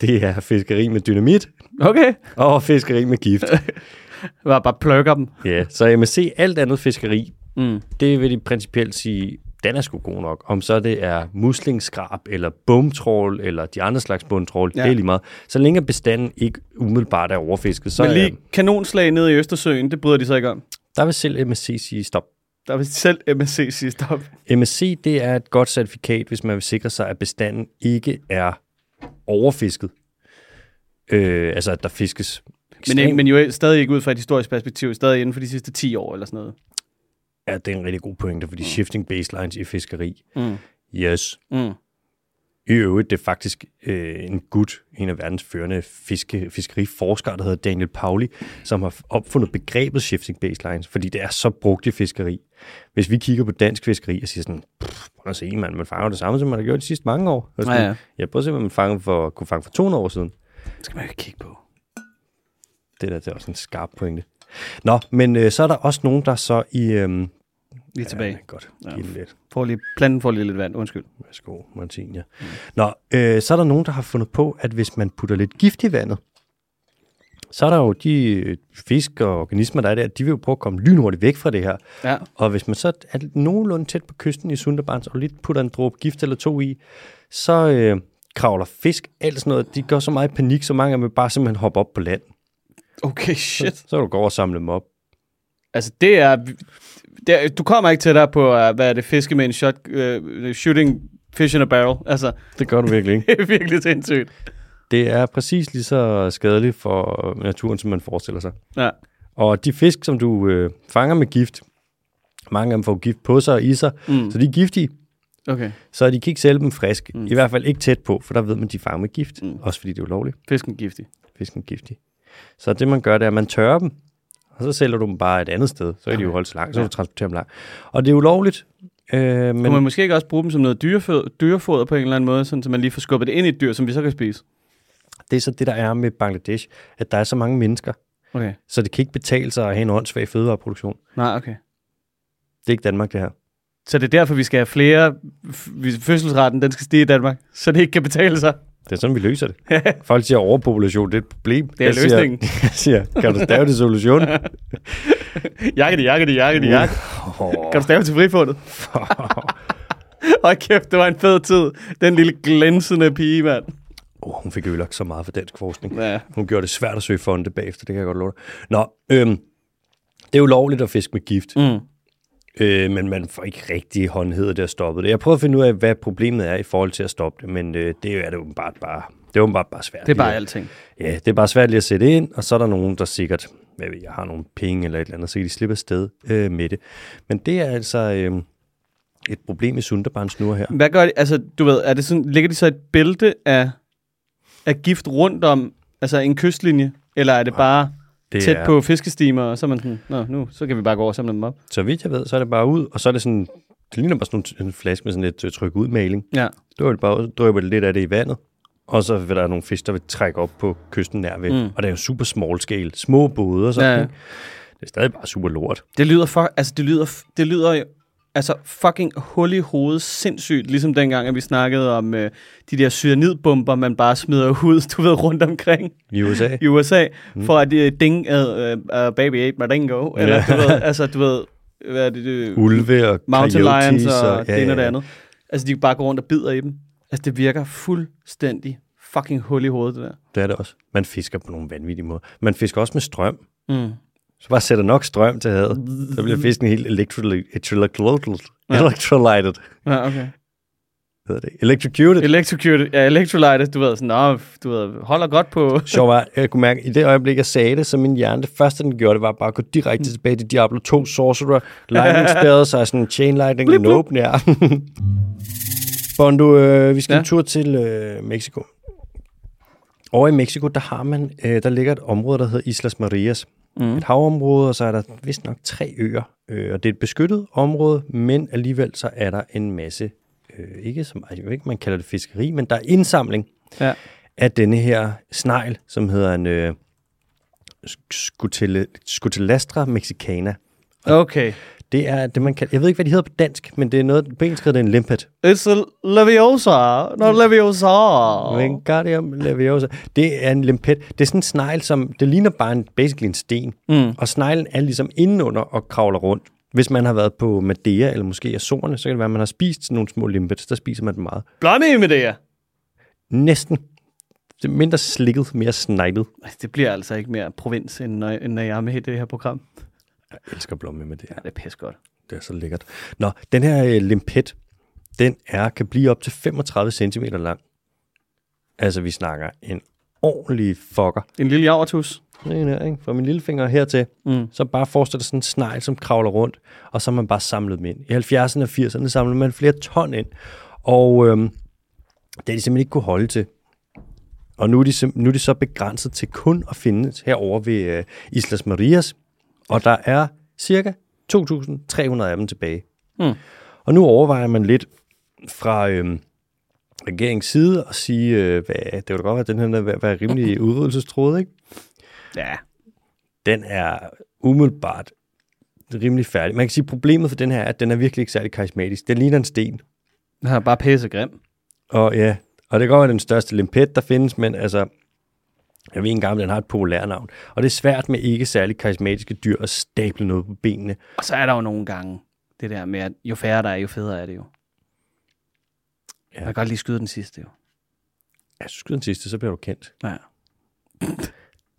[SPEAKER 1] Det er fiskeri med dynamit
[SPEAKER 2] okay.
[SPEAKER 1] og fiskeri med gift.
[SPEAKER 2] Jeg var bare plukker dem.
[SPEAKER 1] ja, så MSC, alt andet fiskeri,
[SPEAKER 2] Mm.
[SPEAKER 1] det vil de principielt sige, den er sgu god nok. Om så det er muslingskrab, eller bumtrål, eller de andre slags bumtrål,
[SPEAKER 2] Ja.
[SPEAKER 1] ja. det er lige meget. Så længe bestanden ikke umiddelbart er overfisket, så
[SPEAKER 2] Men
[SPEAKER 1] lige...
[SPEAKER 2] lige kanonslag nede i Østersøen, det bryder de sig ikke om.
[SPEAKER 1] der vil selv MSC sige stop.
[SPEAKER 2] Der vil selv MSC sige stop.
[SPEAKER 1] MSC det er et godt certifikat, hvis man vil sikre sig, at bestanden ikke er overfisket. Øh, altså, at der fiskes.
[SPEAKER 2] Men,
[SPEAKER 1] ekstremt-
[SPEAKER 2] ikke, men jo stadig ikke ud fra et historisk perspektiv, stadig inden for de sidste 10 år eller sådan noget.
[SPEAKER 1] Ja, det er en rigtig god pointe, fordi shifting baselines i fiskeri.
[SPEAKER 2] Mm.
[SPEAKER 1] Yes.
[SPEAKER 2] Mm.
[SPEAKER 1] I øvrigt, det er faktisk øh, en gut, en af verdens førende fiske, fiskeriforskere, der hedder Daniel Pauli, som har opfundet begrebet shifting baselines, fordi det er så brugt i fiskeri. Hvis vi kigger på dansk fiskeri og siger sådan, "Pff, prøv at se, man, man fanger jo det samme, som man har gjort de sidste mange år. Og sådan,
[SPEAKER 2] Ja, ja.
[SPEAKER 1] Jeg prøver at se, hvad man fanger for, kunne fange for 200 år siden.
[SPEAKER 2] Det skal man jo ikke kigge på.
[SPEAKER 1] Det der, det er også en skarp pointe. Nå, men øh, så er der også nogen, der så i... Øhm,
[SPEAKER 2] Lige tilbage.
[SPEAKER 1] Ja, godt, giv den lidt.
[SPEAKER 2] Får lige, planten får lige lidt vand, undskyld.
[SPEAKER 1] Værsgo, Martin, ja. Mm. Nå, øh, så er der nogen, der har fundet på, at hvis man putter lidt gift i vandet, så er der jo de øh, fisk og organismer, der er der, de vil jo prøve at komme lynhurtigt væk fra det her.
[SPEAKER 2] Ja.
[SPEAKER 1] Og hvis man så er nogenlunde tæt på kysten i Sundarbans, og lidt putter en dråbe gift eller to i, så øh, kravler fisk, alt sådan noget. De går så meget i panik, så mange af dem vil bare simpelthen hoppe op på land.
[SPEAKER 2] Okay, shit.
[SPEAKER 1] Så kan du gå over og samle dem op.
[SPEAKER 2] Altså, det er... Det er du kommer ikke tættere på, øh, hvad er det, fiske med en shot, øh, shooting fish in a barrel. Altså, [LAUGHS]
[SPEAKER 1] Det gør du virkelig ikke.
[SPEAKER 2] det er virkelig sindssygt.
[SPEAKER 1] Det er præcis lige så skadeligt for naturen, som man forestiller sig.
[SPEAKER 2] Ja.
[SPEAKER 1] Og de fisk, som du øh, fanger med gift, mange af dem får gift på sig og i sig, mm. så de er giftige,
[SPEAKER 2] Okay.
[SPEAKER 1] så de kan ikke sælge dem frisk. Mm. I hvert fald ikke tæt på, for der ved man, at de fanger med gift. Mm. Også fordi det er ulovligt.
[SPEAKER 2] Fisken er giftig.
[SPEAKER 1] Fisken er giftig. Så det, man gør, det er, at man tørrer dem, og så sælger du dem bare et andet sted. Så kan de jo holde så langt, så kan du transportere dem langt. Og det er ulovligt, øh,
[SPEAKER 2] Men...
[SPEAKER 1] men
[SPEAKER 2] Kunne man måske ikke også bruge dem som noget dyrefoder, dyrefoder på en eller anden måde, sådan, så man lige får skubbet det ind i et dyr, som vi så kan spise?
[SPEAKER 1] det er så det, der er med Bangladesh, at der er så mange mennesker,
[SPEAKER 2] Okay.
[SPEAKER 1] så det kan ikke betale sig at have en åndssvag fødevareproduktion.
[SPEAKER 2] Nej, okay.
[SPEAKER 1] Det er ikke Danmark, det her.
[SPEAKER 2] Så det er derfor, vi skal have flere... f- vi- Fødselsraten, den skal stige i Danmark, så det ikke kan betale sig.
[SPEAKER 1] Det er sådan, vi løser det. Folk siger, overpopulation, det er et problem.
[SPEAKER 2] er
[SPEAKER 1] Jeg siger-
[SPEAKER 2] løsningen.
[SPEAKER 1] [LAUGHS] Jeg siger, kan du stave det solution?
[SPEAKER 2] Jakkede, jakkede, jakkede,
[SPEAKER 1] Ja.
[SPEAKER 2] jakkede. Kan du stave til frifundet? [LAUGHS] Hold kæft, det var en fed tid. Den lille glænsende pige, mand.
[SPEAKER 1] Oh, hun fik ødelagt så meget for dansk forskning.
[SPEAKER 2] Ja.
[SPEAKER 1] Hun gjorde det svært at søge fonde bagefter, det kan jeg godt love dig. Nå, øhm, det er jo lovligt at fiske med gift,
[SPEAKER 2] Mm.
[SPEAKER 1] øh, men man får ikke rigtig håndhed det at stoppe det. Jeg prøver at finde ud af, hvad problemet er i forhold til at stoppe det, men øh, det er det åbenbart bare, det er åbenbart bare svært.
[SPEAKER 2] Det er bare
[SPEAKER 1] lige at-
[SPEAKER 2] alting.
[SPEAKER 1] Ja, det er bare svært lige at sætte ind, og så er der nogen, der sikkert, hvad ved jeg, har nogle penge eller et eller andet, så kan de slippe afsted øh, med det. Men det er altså øh, et problem i Sunderbans nu og her.
[SPEAKER 2] Hvad gør de? Altså, du ved, er det sådan, ligger de så et bælte af, af gift rundt om, altså en kystlinje? Eller er det bare
[SPEAKER 1] Det
[SPEAKER 2] tæt
[SPEAKER 1] er,
[SPEAKER 2] på fiskestimer, og så er man sådan, nå, nu, så kan vi bare gå over og samle dem op.
[SPEAKER 1] Så vidt jeg ved, så er det bare ud, og så er det sådan, det ligner bare sådan en flaske med sådan lidt øh, tryk ud maling.
[SPEAKER 2] Ja.
[SPEAKER 1] Så det bare ud, drøber det lidt af det i vandet, og så vil der nogle fisk, der vil trække op på kysten nær ved. Mm. Og det er jo super small scale, små både og sådan.
[SPEAKER 2] Ja.
[SPEAKER 1] Ja. Det er stadig bare super lort.
[SPEAKER 2] Det lyder, for, altså, det lyder, f- det lyder jo, altså fucking hul i hovedet sindssygt, ligesom dengang, at vi snakkede om øh, de der cyanidbomber, man bare smider [LAUGHS] ud, du ved, rundt omkring
[SPEAKER 1] I
[SPEAKER 2] [LAUGHS]
[SPEAKER 1] USA.
[SPEAKER 2] i USA, mm. for at øh, ding, øh, øh, baby ate my dingo, eller ja. du ved, [LAUGHS] altså du ved, hvad er det, det
[SPEAKER 1] Ulve og
[SPEAKER 2] mountain lions
[SPEAKER 1] coyotes
[SPEAKER 2] og det ene og det andet. Altså, de bare går rundt og bider i dem. Altså, det virker fuldstændig fucking hul i hovedet, det der.
[SPEAKER 1] Det er det også. Man fisker på nogle vanvittige måder. Man fisker også med strøm.
[SPEAKER 2] Mm.
[SPEAKER 1] Så bare sætter nok strøm til havet. Så bliver fisken helt electroly- electrolyted.
[SPEAKER 2] Ja.
[SPEAKER 1] Electrolyted.
[SPEAKER 2] Ja, [LAUGHS] okay.
[SPEAKER 1] Hedder det. Electrocuted.
[SPEAKER 2] Electrocuted, ja, electrolyte, du ved, sådan, nå, du ved, holder godt på...
[SPEAKER 1] Sjov var, jeg kunne mærke, at i det øjeblik, jeg sagde det, så min hjerne, det første, den gjorde, det var bare at gå direkte tilbage til Diablo 2 Sorcerer, [LAUGHS] lightning spærrede sig, sådan chain lightning, blip, blip. nope, ja. [LAUGHS] Bondo, øh, vi skal ja.
[SPEAKER 2] Ja.
[SPEAKER 1] en tur til øh, Mexico. Over i Mexico, der har man, øh, der ligger et område, der hedder Islas Marias. Mm. Et havområde, og så er der vist nok tre øer. Øh, og det er et beskyttet område, men alligevel så er der en masse, øh, ikke så meget, jeg ved ikke, man kalder det fiskeri, men der er indsamling
[SPEAKER 2] Ja.
[SPEAKER 1] af denne her snegl, som hedder en øh, sk- skutele, skutelastra mexicana.
[SPEAKER 2] Okay.
[SPEAKER 1] Det er det, man kan... Jeg ved ikke, hvad de hedder på dansk, men det er noget... På engelsk hedder det en limpet.
[SPEAKER 2] It's a leviosa, not leviosa.
[SPEAKER 1] Oh. Wingardium leviosa. Det er en limpet. Det er sådan en snegl, som... Det ligner bare en, basically en sten. Mm. Og sneglen er ligesom indenunder og kravler rundt. Hvis man har været på Madeira eller måske Azorerne, så kan det være, at man har spist sådan nogle små limpets. Der spiser man dem meget.
[SPEAKER 2] Blande med det her.
[SPEAKER 1] Næsten. Det er mindre slikket, mere sneglet.
[SPEAKER 2] Altså, Det bliver altså ikke mere provins, end når, end når jeg er med i det her program.
[SPEAKER 1] Jeg elsker blomme med det
[SPEAKER 2] Ja, det er pis godt.
[SPEAKER 1] Det er så lækkert. Nå, den her øh, limpet, den er, kan blive op til 35 cm lang. Altså, vi snakker en ordentlig fucker.
[SPEAKER 2] En lille javertus.
[SPEAKER 1] Den her, ikke? Fra min lillefinger hertil. Mm. Så bare forestil dig sådan en snegl, som kravler rundt, og så har man bare samlet dem ind. I 70'erne og 80'erne samlede man flere ton ind, og øhm, det har de simpelthen ikke kunne holde til. Og nu er, de sim- nu er de så begrænset til kun at findes herover ved øh, Islas Marias, og der er cirka 2.300 af dem tilbage.
[SPEAKER 2] Mm.
[SPEAKER 1] Og nu overvejer man lidt fra øhm, regeringens side at sige, øh, hvad, det kunne da godt være, at den her var, var rimelig udryddelsestruet, ikke?
[SPEAKER 2] Ja.
[SPEAKER 1] den er umiddelbart rimelig færdig. Man kan sige, at problemet for den her er, at den er virkelig ikke særlig karismatisk. Den ligner en sten.
[SPEAKER 2] Den er bare pisse grim.
[SPEAKER 1] Og ja, og det kan godt være den største limpet, der findes, men altså, jeg ved ikke engang, om den har et populært navn. Og det er svært med ikke særlig karismatiske dyr at stable noget på benene.
[SPEAKER 2] Og så er der jo nogle gange det der med, at jo færre der er, jo federe er det jo. Ja. Jeg kan godt lige skyde den sidste jo.
[SPEAKER 1] Ja, så skyder den sidste, så bliver du kendt.
[SPEAKER 2] Ja.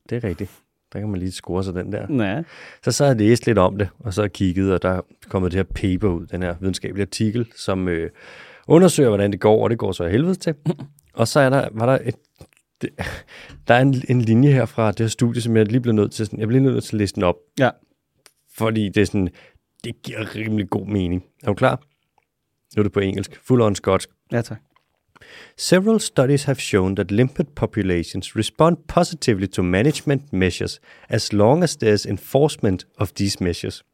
[SPEAKER 1] Det er rigtigt. Der kan man lige score sig den der.
[SPEAKER 2] Ja.
[SPEAKER 1] Så sad jeg og læste lidt om det, og så har jeg kigget, og der er kommet det her paper ud, den her videnskabelige artikel, som øh, undersøger, hvordan det går, og det går så af helvede til. Og så er der, var der et, det, der er en, en linje her fra det her studie, som jeg lige blev nødt til, sådan, jeg blev lige nødt til at læse den op,
[SPEAKER 2] ja.
[SPEAKER 1] fordi det er sådan, det giver rimelig god mening. Er du klar? Nu er det på engelsk. Full on skotsk.
[SPEAKER 2] Ja, tak.
[SPEAKER 1] Several studies have shown that limpet populations respond positively to management measures as long as there's enforcement of these measures.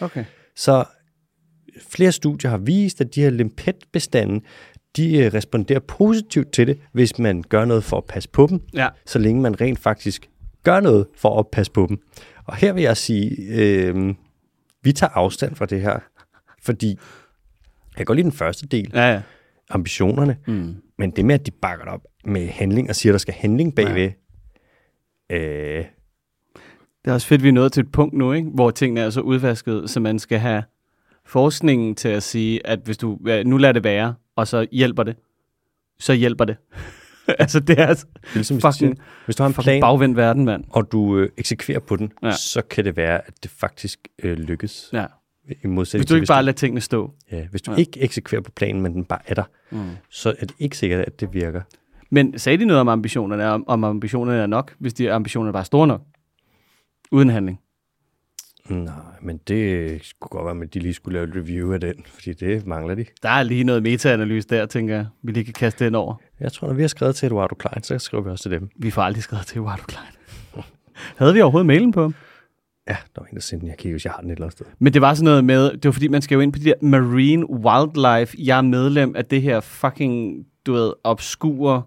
[SPEAKER 2] Okay.
[SPEAKER 1] Så flere studier har vist, at de her limpetbestanden, de øh, responderer positivt til det, hvis man gør noget for at passe på dem,
[SPEAKER 2] Ja.
[SPEAKER 1] så længe man rent faktisk gør noget for at passe på dem. Og her vil jeg sige, øh, vi tager afstand fra det her, fordi jeg kan godt lide den første del,
[SPEAKER 2] Ja, ja.
[SPEAKER 1] ambitionerne, mm. men det med, at de bakker det op med handling og siger, at der skal handling bagved, ja. øh,
[SPEAKER 2] Det er også fedt, at vi er nået til et punkt nu, ikke? hvor tingene er så udvasket, så man skal have forskningen til at sige, at hvis du ja, nu lader det være, og så hjælper det, så hjælper det. [LAUGHS] altså, det er altså
[SPEAKER 1] det er ligesom, hvis,
[SPEAKER 2] Fucking-
[SPEAKER 1] du, hvis du har en
[SPEAKER 2] fucking
[SPEAKER 1] plan,
[SPEAKER 2] bagvendt verden, mand.
[SPEAKER 1] og du øh, eksekverer på den,
[SPEAKER 2] Ja.
[SPEAKER 1] ja. så kan det være, at det faktisk øh, lykkes. Ja.
[SPEAKER 2] Ja.
[SPEAKER 1] I modsætning
[SPEAKER 2] Hvis du
[SPEAKER 1] til,
[SPEAKER 2] ikke bare lader tingene stå.
[SPEAKER 1] ja, hvis du
[SPEAKER 2] Ja.
[SPEAKER 1] ja. ikke eksekverer på planen, men den bare er der, mm. så er det ikke sikkert, at det virker.
[SPEAKER 2] Men sagde de noget om ambitionerne, om, om ambitionerne er nok, hvis de ambitionerne bare er store nok? Uden handling.
[SPEAKER 1] Nej, men det skulle godt være, at de lige skulle lave et review af den, fordi det mangler de.
[SPEAKER 2] Der er lige noget metaanalyse der, tænker jeg, vi lige kan kaste den over.
[SPEAKER 1] Jeg tror, når vi har skrevet til Eduardo Klein, så skriver vi også til dem.
[SPEAKER 2] Vi får aldrig skrevet til Eduardo Klein. [LAUGHS] Havde vi overhovedet mailen på ham?
[SPEAKER 1] Ja, der var en, der sendte den. Jeg kigger, hvis jeg har den et eller andet sted.
[SPEAKER 2] Men det var sådan noget med, det var fordi, man skal jo ind på de der marine wildlife. Jeg er medlem af det her fucking, du ved, obskure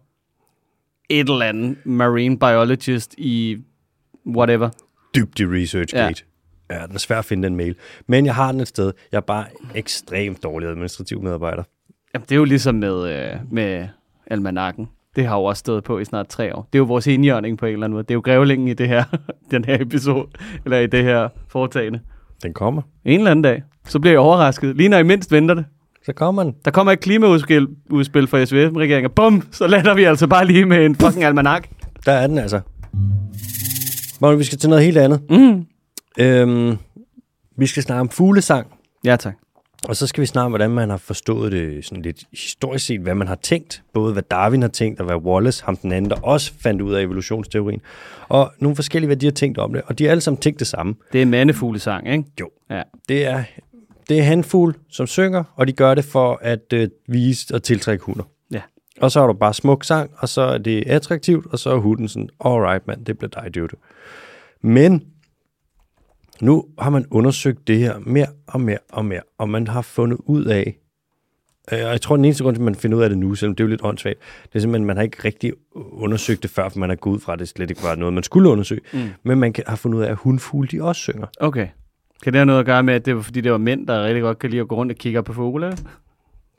[SPEAKER 2] et eller andet marine biologist i whatever.
[SPEAKER 1] dybt i ResearchGate. Ja. ja, den er svært at finde den mail. Men jeg har den et sted. Jeg er bare ekstremt dårlig administrativ medarbejder.
[SPEAKER 2] Jamen, det er jo ligesom med, øh, med almanakken. Det har jo også stået på i snart tre år. Det er jo vores indjørning på en eller anden måde. Det er jo grævlingen i det her, [LAUGHS] den her episode, eller i det her foretagende.
[SPEAKER 1] Den kommer.
[SPEAKER 2] En eller anden dag, så bliver jeg overrasket. Lige når I mindst venter det.
[SPEAKER 1] Så kommer den.
[SPEAKER 2] Der kommer et klimaudspil udspil fra SVM-regeringen, og bum, så lander vi altså bare lige med en fucking almanak.
[SPEAKER 1] Der er den altså. Magne, vi skal til noget helt andet. Mm. Øhm, vi skal snakke om fuglesang.
[SPEAKER 2] Ja, tak.
[SPEAKER 1] Og så skal vi snakke om, hvordan man har forstået det sådan lidt historisk set, hvad man har tænkt. Både hvad Darwin har tænkt, og hvad Wallace, ham den anden, der også fandt ud af evolutionsteorien. Og nogle forskellige, hvad de har tænkt om det. Og de har alle sammen tænkt det samme.
[SPEAKER 2] Det er mandefuglesang, ikke?
[SPEAKER 1] Jo.
[SPEAKER 2] Ja.
[SPEAKER 1] Det er, det er hanfugl, som synger, og de gør det for at øh, vise og tiltrække hunder.
[SPEAKER 2] Ja.
[SPEAKER 1] Og så har du bare smuk sang, og så er det attraktivt, og så er hunden sådan, alright mand, det bliver dig, dude. Men nu har man undersøgt det her mere og mere og mere, og man har fundet ud af, øh, og jeg tror, den eneste grund til, at man finder ud af det nu, selvom det er jo lidt åndssvagt, det er simpelthen, at man har ikke rigtig undersøgt det før, for man har gået ud fra, at det slet ikke var noget, man skulle undersøge. Mm. Men man kan, har fundet ud af, at hundfugle, de også synger.
[SPEAKER 2] Okay. Kan det have noget at gøre med, at det var fordi, det var mænd, der rigtig godt kan lide at gå rundt og kigge op på fugle?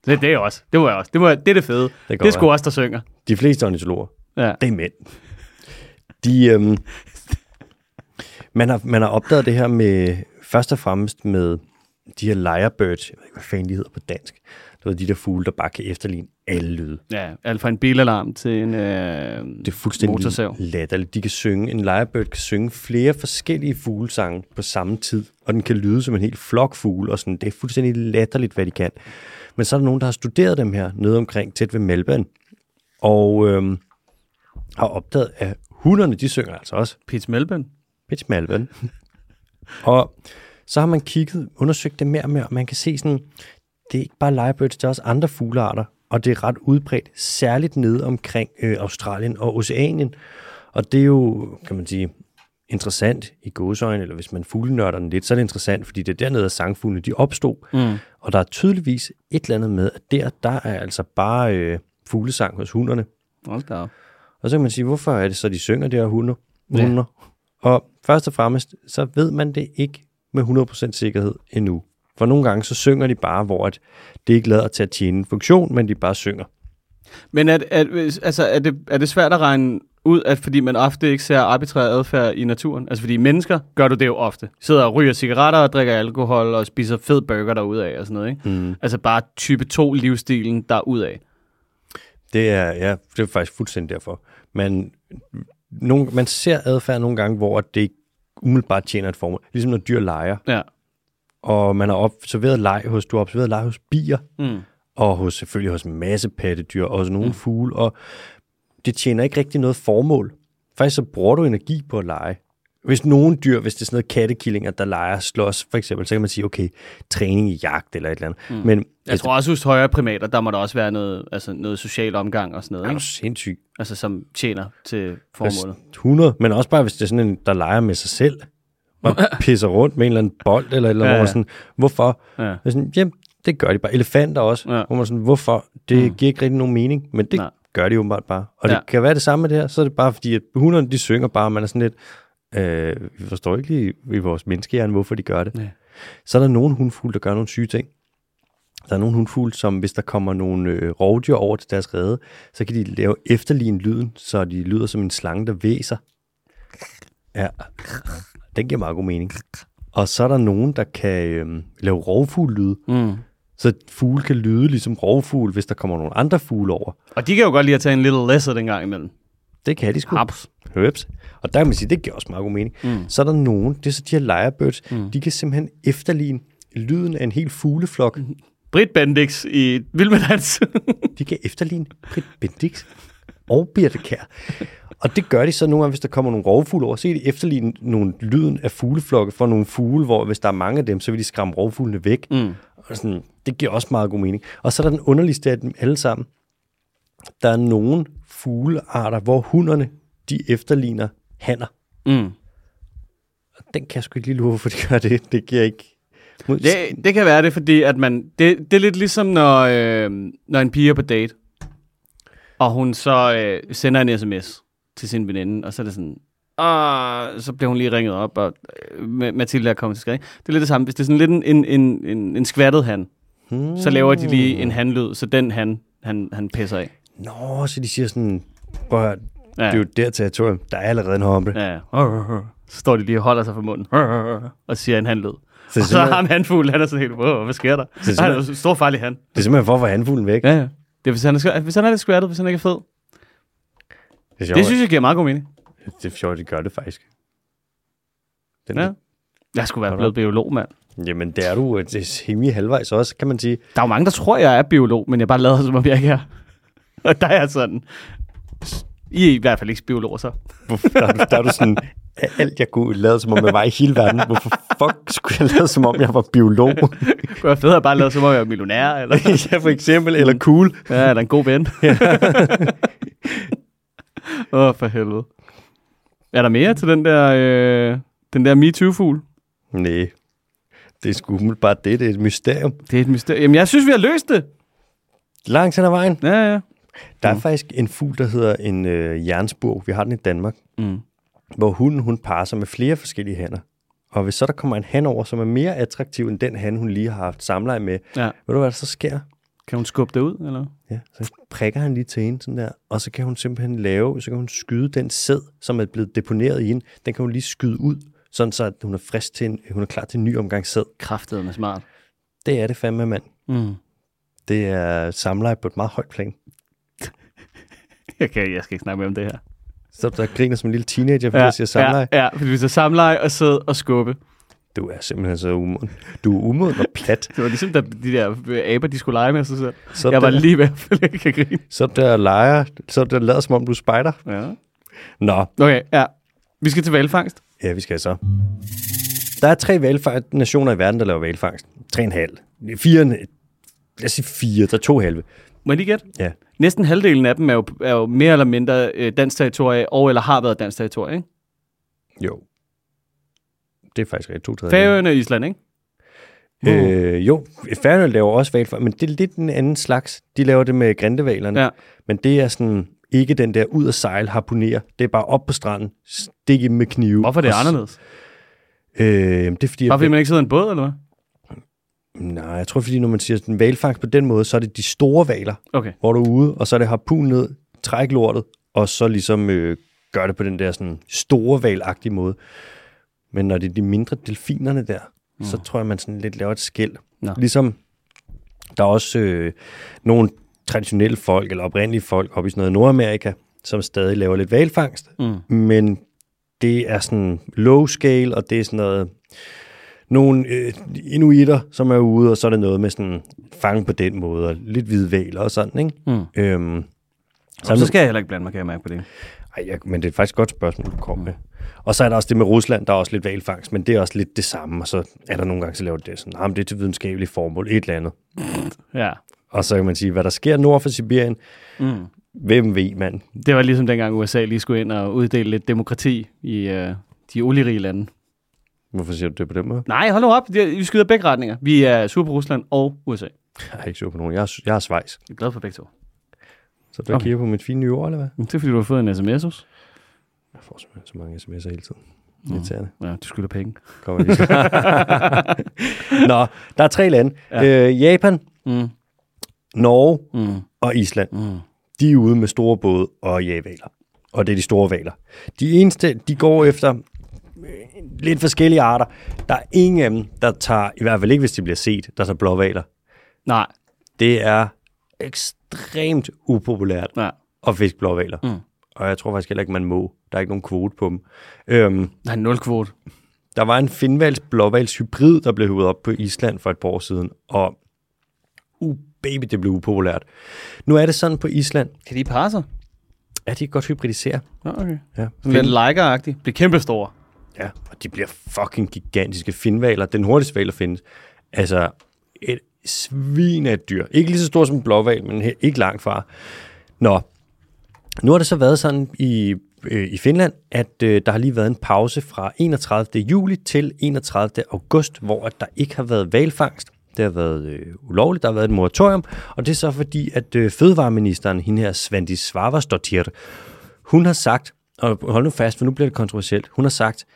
[SPEAKER 2] Det, det er også. Det var jeg også. Det, var, det er det fede. Det,
[SPEAKER 1] kan
[SPEAKER 2] det er
[SPEAKER 1] godt
[SPEAKER 2] sgu også, der synger.
[SPEAKER 1] De fleste ornitologer,
[SPEAKER 2] Ja.
[SPEAKER 1] det er mænd. De, øhm, man, har, man har opdaget det her med, først og fremmest med de her lyrebird, jeg ved ikke, hvad fanden de hedder på dansk. Det var de der fugle, der bare kan efterligne alle lyde.
[SPEAKER 2] ja. Alt fra en bilalarm til en... Øh...
[SPEAKER 1] Det er fuldstændig
[SPEAKER 2] Motorsav.
[SPEAKER 1] latterligt. De kan synge, en lyrebird kan synge flere forskellige fuglesange på samme tid, og den kan lyde som en helt flok fugle, og sådan, det er fuldstændig latterligt, hvad de kan. Men så er der nogen, der har studeret dem her, nede omkring, tæt ved Melbourne, og øhm, har opdaget, at hunderne, de synger altså også.
[SPEAKER 2] Pitch Melbourne.
[SPEAKER 1] Bitch Malvin. og så har man kigget, undersøgt det mere og mere, og man kan se sådan, det er ikke bare lyrebirds, det er også andre fuglearter, og det er ret udbredt, særligt nede omkring øh, Australien og Oceanien. Og det er jo, kan man sige, interessant i gåsøjne, eller hvis man fuglenørder den lidt, så er det interessant, fordi det er dernede, at sangfuglene de opstod. Mm. Og der er tydeligvis et eller andet med, at der, der er altså bare øh, fuglesang hos hunderne.
[SPEAKER 2] Hold da op.
[SPEAKER 1] Og så kan man sige, hvorfor er det så, de synger de her hunde? Hunder? Ja. Og først og fremmest, så ved man det ikke med 100% sikkerhed endnu. For nogle gange, så synger de bare, hvor at det ikke lader til at tjene en funktion, men de bare synger.
[SPEAKER 2] Men at, at, altså, er, det, er det svært at regne ud, at fordi man ofte ikke ser arbitrær adfærd i naturen? Altså fordi mennesker gør du det jo ofte. Sidder og ryger cigaretter og drikker alkohol og spiser fed burger derudaf og sådan noget. Ikke? Mm. Altså bare type 2 livsstilen derudaf.
[SPEAKER 1] Det er, ja, det er faktisk fuldstændig derfor. Man, nogle, man ser adfærd nogle gange, hvor at det ikke umiddelbart tjener et formål. Ligesom når dyr leger,
[SPEAKER 2] Ja.
[SPEAKER 1] og man har observeret leg hos, du har observeret leg hos bier,
[SPEAKER 2] Mm.
[SPEAKER 1] og hos, selvfølgelig hos en masse pattedyr, og hos nogle mm. fugle, og det tjener ikke rigtig noget formål. Faktisk så bruger du energi på at lege. Hvis nogle dyr, hvis det er sådan noget kattekillinger, der leger slås, for eksempel, så kan man sige, okay, træning i jagt eller et eller andet. Mm. Men
[SPEAKER 2] Jeg tror også, hos højere primater, der må der også være noget, altså noget social omgang og sådan noget,
[SPEAKER 1] er du
[SPEAKER 2] ikke?
[SPEAKER 1] sindssyg?
[SPEAKER 2] Altså, som tjener til formålet.
[SPEAKER 1] 100, men også bare, hvis det er sådan en, der leger med sig selv,
[SPEAKER 2] [LAUGHS]
[SPEAKER 1] og pisser rundt med en eller anden bold, eller, et eller andet,
[SPEAKER 2] Ja,
[SPEAKER 1] ja,
[SPEAKER 2] ja.
[SPEAKER 1] ja. sådan, hvorfor?
[SPEAKER 2] Ja.
[SPEAKER 1] Og sådan, jamen, det gør de bare. Elefanter også.
[SPEAKER 2] Ja.
[SPEAKER 1] Ja. Hvor man sådan, hvorfor? Det mm. giver ikke rigtig nogen mening, men det
[SPEAKER 2] Nej.
[SPEAKER 1] Nej. gør de åbenbart bare. Og
[SPEAKER 2] Ja.
[SPEAKER 1] det kan være det samme med det her, så er det bare fordi, at hunderne, de synger bare, og man er sådan lidt, øh, vi forstår ikke lige i vores menneskehjerne, hvorfor de gør det.
[SPEAKER 2] Ja.
[SPEAKER 1] Så er der nogle hundfugle, der gør nogle syge ting. Der er nogle hundfugle, som hvis der kommer nogle øh, rovdyr over til deres rede, så kan de lave efterligne lyden, så de lyder som en slange, der væser. Ja, den giver meget god mening. Og så er der nogen, der kan øh, lave rovfuglelyde,
[SPEAKER 2] Mm.
[SPEAKER 1] så fugle kan lyde ligesom rovfugl, hvis der kommer nogle andre fugle over.
[SPEAKER 2] Og de kan jo godt lide at tage en little lesser den gang imellem.
[SPEAKER 1] Det kan de sgu.
[SPEAKER 2] Haps.
[SPEAKER 1] Høps. Og der kan man sige, det giver også meget god mening. Mm. Så er der nogen, det er så de her lejerbirds, mm. de kan simpelthen efterligne lyden af en hel fugleflok. Mm.
[SPEAKER 2] Britt Bendix i Vild med Dans. [LAUGHS]
[SPEAKER 1] De kan efterligne Britt Bendix og Birte Kær. Og det gør de så nogle gange, hvis der kommer nogle rovfugle over, så kan de efterligne nogle lyden af fugleflokke for nogle fugle, hvor hvis der er mange af dem, så vil de skræmme rovfuglene væk. Mm. Og sådan, det giver også meget god mening. Og så er der den underligste af dem alle sammen. Der er nogle fuglearter, hvor hunderne, de efterligner hanner.
[SPEAKER 2] mm.
[SPEAKER 1] Den kan jeg sgu ikke lige lure, hvorfor de gør det. Det giver ikke... Mod...
[SPEAKER 2] det, det kan være det, fordi at man, det, det er lidt ligesom, når, øh, når en pige er på date, og hun så øh, sender en sms til sin veninde, og så er det sådan, og så bliver hun lige ringet op, og øh, Ma- Mathilde er kommet til skade. ikke? Det er lidt det samme. Hvis det er sådan lidt en, en, en, en, en skvattet han, hmm. så laver de lige en handlyd, så den han, han, han pisser af.
[SPEAKER 1] Nå, så de siger sådan... Prøv at høre,
[SPEAKER 2] Ja.
[SPEAKER 1] det er jo der territorium. Der er allerede en hombre. Ja.
[SPEAKER 2] Ja. Så står de lige og holder sig for munden, og siger en handlyd.
[SPEAKER 1] Så
[SPEAKER 2] og
[SPEAKER 1] [LAUGHS]
[SPEAKER 2] så
[SPEAKER 1] simpelthen-
[SPEAKER 2] har han fuglen, han er sådan helt, wow, hvad sker der? Så han er jo en stor farlig han.
[SPEAKER 1] Det er simpelthen for at få handfuglen væk. Ja.
[SPEAKER 2] Ja, ja. Det er, hvis han er, sk- hvis han er lidt skvattet, hvis han ikke er fed.
[SPEAKER 1] Det, er
[SPEAKER 2] Jo,
[SPEAKER 1] sjovt,
[SPEAKER 2] det synes jeg giver meget god mening.
[SPEAKER 1] jeg... det er sjovt, at de gør det faktisk. Den...
[SPEAKER 2] Ja.
[SPEAKER 1] Ja.
[SPEAKER 2] Jeg skulle være
[SPEAKER 1] Hold
[SPEAKER 2] blevet biolog, mand.
[SPEAKER 1] Jamen, det er du øh, det er semi halvvejs også, kan man sige.
[SPEAKER 2] Der er jo mange, der tror, jeg er biolog, men jeg bare lader, som om jeg ikke er. [LAUGHS] Og der er jeg sådan. I er i hvert fald ikke biologer, så.
[SPEAKER 1] Hvorfor- Der, er du- der er du sådan... af Alt jeg kunne lade, som om jeg var i hele verden. Hvorfor fuck skulle jeg lade, som om jeg var biolog?
[SPEAKER 2] Det kunne være federe at bare lade, som om jeg er [LAUGHS] millionær, eller,
[SPEAKER 1] [LAUGHS] ja, for eksempel. Eller cool.
[SPEAKER 2] ja, eller en god [LAUGHS] ven. Åh, oh, for helvede. Er der mere til den der, øh, den der MeToo-fugl?
[SPEAKER 1] Nej. Det er sgu umiddelbart det. Det er et mysterium.
[SPEAKER 2] Det er et mysterium. Jamen, jeg synes, vi har løst det.
[SPEAKER 1] Langt hen ad vejen.
[SPEAKER 2] Ja, ja.
[SPEAKER 1] Der er mm. faktisk en fugl, der hedder en øh, jernsburg. Vi har den i Danmark.
[SPEAKER 2] Mm.
[SPEAKER 1] Hvor hunden, hun parer sig med flere forskellige hanner. Og hvis så der kommer en han over, som er mere attraktiv end den han, hun lige har haft samleje med,
[SPEAKER 2] ja.
[SPEAKER 1] ved du hvad der så sker?
[SPEAKER 2] Kan hun skubbe det ud, eller?
[SPEAKER 1] Ja, så prikker han lige til hende sådan der, og så kan hun simpelthen lave, så kan hun skyde den sæd, som er blevet deponeret i hende, den kan hun lige skyde ud, sådan så at hun er frisk til en, hun er klar til en ny omgang sæd.
[SPEAKER 2] Kraftet med smart.
[SPEAKER 1] Det er det fandme, mand.
[SPEAKER 2] Mm.
[SPEAKER 1] Det er samleje på et meget højt plan.
[SPEAKER 2] Jeg, kan, jeg skal ikke snakke mere om det her.
[SPEAKER 1] Så der griner som en lille teenager, fordi ja, jeg siger samleje.
[SPEAKER 2] Ja, ja, fordi vi så samleje og sidde og skubbe.
[SPEAKER 1] Du er simpelthen så umoden. Du er umoden og plat.
[SPEAKER 2] Det var ligesom, da de der øh, aber, de skulle lege med sig selv.
[SPEAKER 1] Så
[SPEAKER 2] jeg var
[SPEAKER 1] der-
[SPEAKER 2] lige ved at falde ikke at grine.
[SPEAKER 1] Så er der leger, så er der lader som om du er spejder.
[SPEAKER 2] Ja.
[SPEAKER 1] Nå,
[SPEAKER 2] Okay, ja. Vi skal til valfangst.
[SPEAKER 1] ja, vi skal så. Der er tre valfang- nationer i verden, der laver valfangst. Tre og en halv. Fire, en- lad os sige fire, der er to halve.
[SPEAKER 2] Må jeg lige gætte?
[SPEAKER 1] Ja,
[SPEAKER 2] Næsten halvdelen af dem er jo, er jo mere eller mindre øh, dansk territorie, og eller har været dansk territorie, ikke?
[SPEAKER 1] jo. Det er faktisk rigtigt, to tredje.
[SPEAKER 2] Færøerne og Island, ikke?
[SPEAKER 1] Øh, jo, Færøerne laver også valfangst, men det er lidt en anden slags. De laver det med grindevalerne.
[SPEAKER 2] Ja.
[SPEAKER 1] Men det er sådan ikke den der ud at sejle, harponere. Det er bare op på stranden, stikke med knive.
[SPEAKER 2] Hvorfor er det
[SPEAKER 1] Og s-
[SPEAKER 2] anderledes?
[SPEAKER 1] Øh, jamen, det er fordi,
[SPEAKER 2] Bare
[SPEAKER 1] at
[SPEAKER 2] fordi man ikke sidder i en båd, eller hvad?
[SPEAKER 1] Nej, jeg tror, fordi når man siger sådan valfangst på den måde, så er det de store valer,
[SPEAKER 2] Okay.
[SPEAKER 1] hvor du er ude, og så er det harpun ned, træk lortet, og så ligesom øh, gør det på den der sådan store valagtige måde. Men når det er de mindre delfinerne der, mm. så tror jeg, man sådan lidt laver et skæld.
[SPEAKER 2] Nå.
[SPEAKER 1] Ligesom der er også øh, nogle traditionelle folk, eller oprindelige folk, oppe i sådan noget Nordamerika, som stadig laver lidt valfangst,
[SPEAKER 2] Mm.
[SPEAKER 1] men det er sådan low scale, og det er sådan noget nogle øh, inuitter, som er ude, og så er det noget med sådan fange på den måde, og lidt hvidvaler og sådan, ikke? Mm. Øhm,
[SPEAKER 2] Og så skal jeg heller ikke blande mig, kan jeg mærke på det.
[SPEAKER 1] ej, jeg, men det er faktisk et godt spørgsmål, du kom med. Og så er der også det med Rusland, der er også lidt valfangst, men det er også lidt det samme, og så er der nogle gange, så laver de det sådan, nah, men det er til videnskabelige formål, et eller andet.
[SPEAKER 2] Ja.
[SPEAKER 1] Og så kan man sige, hvad der sker nord for Sibirien, mm. hvem ved, mand?
[SPEAKER 2] Det var ligesom dengang USA lige skulle ind og uddele lidt demokrati i øh, de olierige lande.
[SPEAKER 1] Hvorfor siger du det på den måde?
[SPEAKER 2] Nej, hold nu op. Det- Vi skyder begge retninger. Vi er sur på Rusland og USA.
[SPEAKER 1] Jeg er ikke sur på nogen. Jeg er, jeg er Schweiz.
[SPEAKER 2] Jeg er glad for begge to.
[SPEAKER 1] Så du okay.
[SPEAKER 2] Okay.
[SPEAKER 1] kigger på mit fine nye ord, eller hvad?
[SPEAKER 2] Det er fordi, du har fået en sms hos.
[SPEAKER 1] Jeg får simpelthen så mange sms'er hele tiden. Irriterende.
[SPEAKER 2] Ja, du skylder penge.
[SPEAKER 1] Kommer [LAUGHS] lige. Nå, der er tre lande. Ja. Øh, Japan,
[SPEAKER 2] Mm.
[SPEAKER 1] Norge
[SPEAKER 2] Mm.
[SPEAKER 1] og Island.
[SPEAKER 2] Mm.
[SPEAKER 1] De er ude med store både og jævaler. Og det er de store valer. De eneste, de går efter øh, lidt forskellige arter. Der er ingen af dem, der tager, i hvert fald ikke hvis de bliver set, der tager blåvaler.
[SPEAKER 2] Nej,
[SPEAKER 1] Det er ekstremt upopulært
[SPEAKER 2] nej.
[SPEAKER 1] at fiske blåvaler. Mm. Og jeg tror faktisk heller ikke, man må. Der er ikke nogen kvote på dem. Øhm,
[SPEAKER 2] Der er nul kvote.
[SPEAKER 1] Der var en finvalgs blåvals hybrid, der blev hævet op på Island for et par år siden, og uh, baby, det blev upopulært. Nu er det sådan på Island,
[SPEAKER 2] Kan de parre sig?
[SPEAKER 1] at de kan godt hybridisere.
[SPEAKER 2] Ja, okay.
[SPEAKER 1] Ja.
[SPEAKER 2] Sådan lidt liker-agtigt. Bliver kæmpestore.
[SPEAKER 1] ja, og de bliver fucking gigantiske finvaler. Den hurtigste val, der findes. Altså, et svin af et dyr. Ikke lige så stor som en blåval, men he- ikke langt fra. Nå, nu har det så været sådan i, øh, i Finland, at øh, der har lige været en pause fra 31. juli til 31. august, hvor at der ikke har været valfangst. Det har været øh, ulovligt, der har været et moratorium, og det er så fordi, at øh, fødevareministeren, hende her Svandi Svavarsdottir, hun har sagt, og hold nu fast, for nu bliver det kontroversielt, hun har sagt,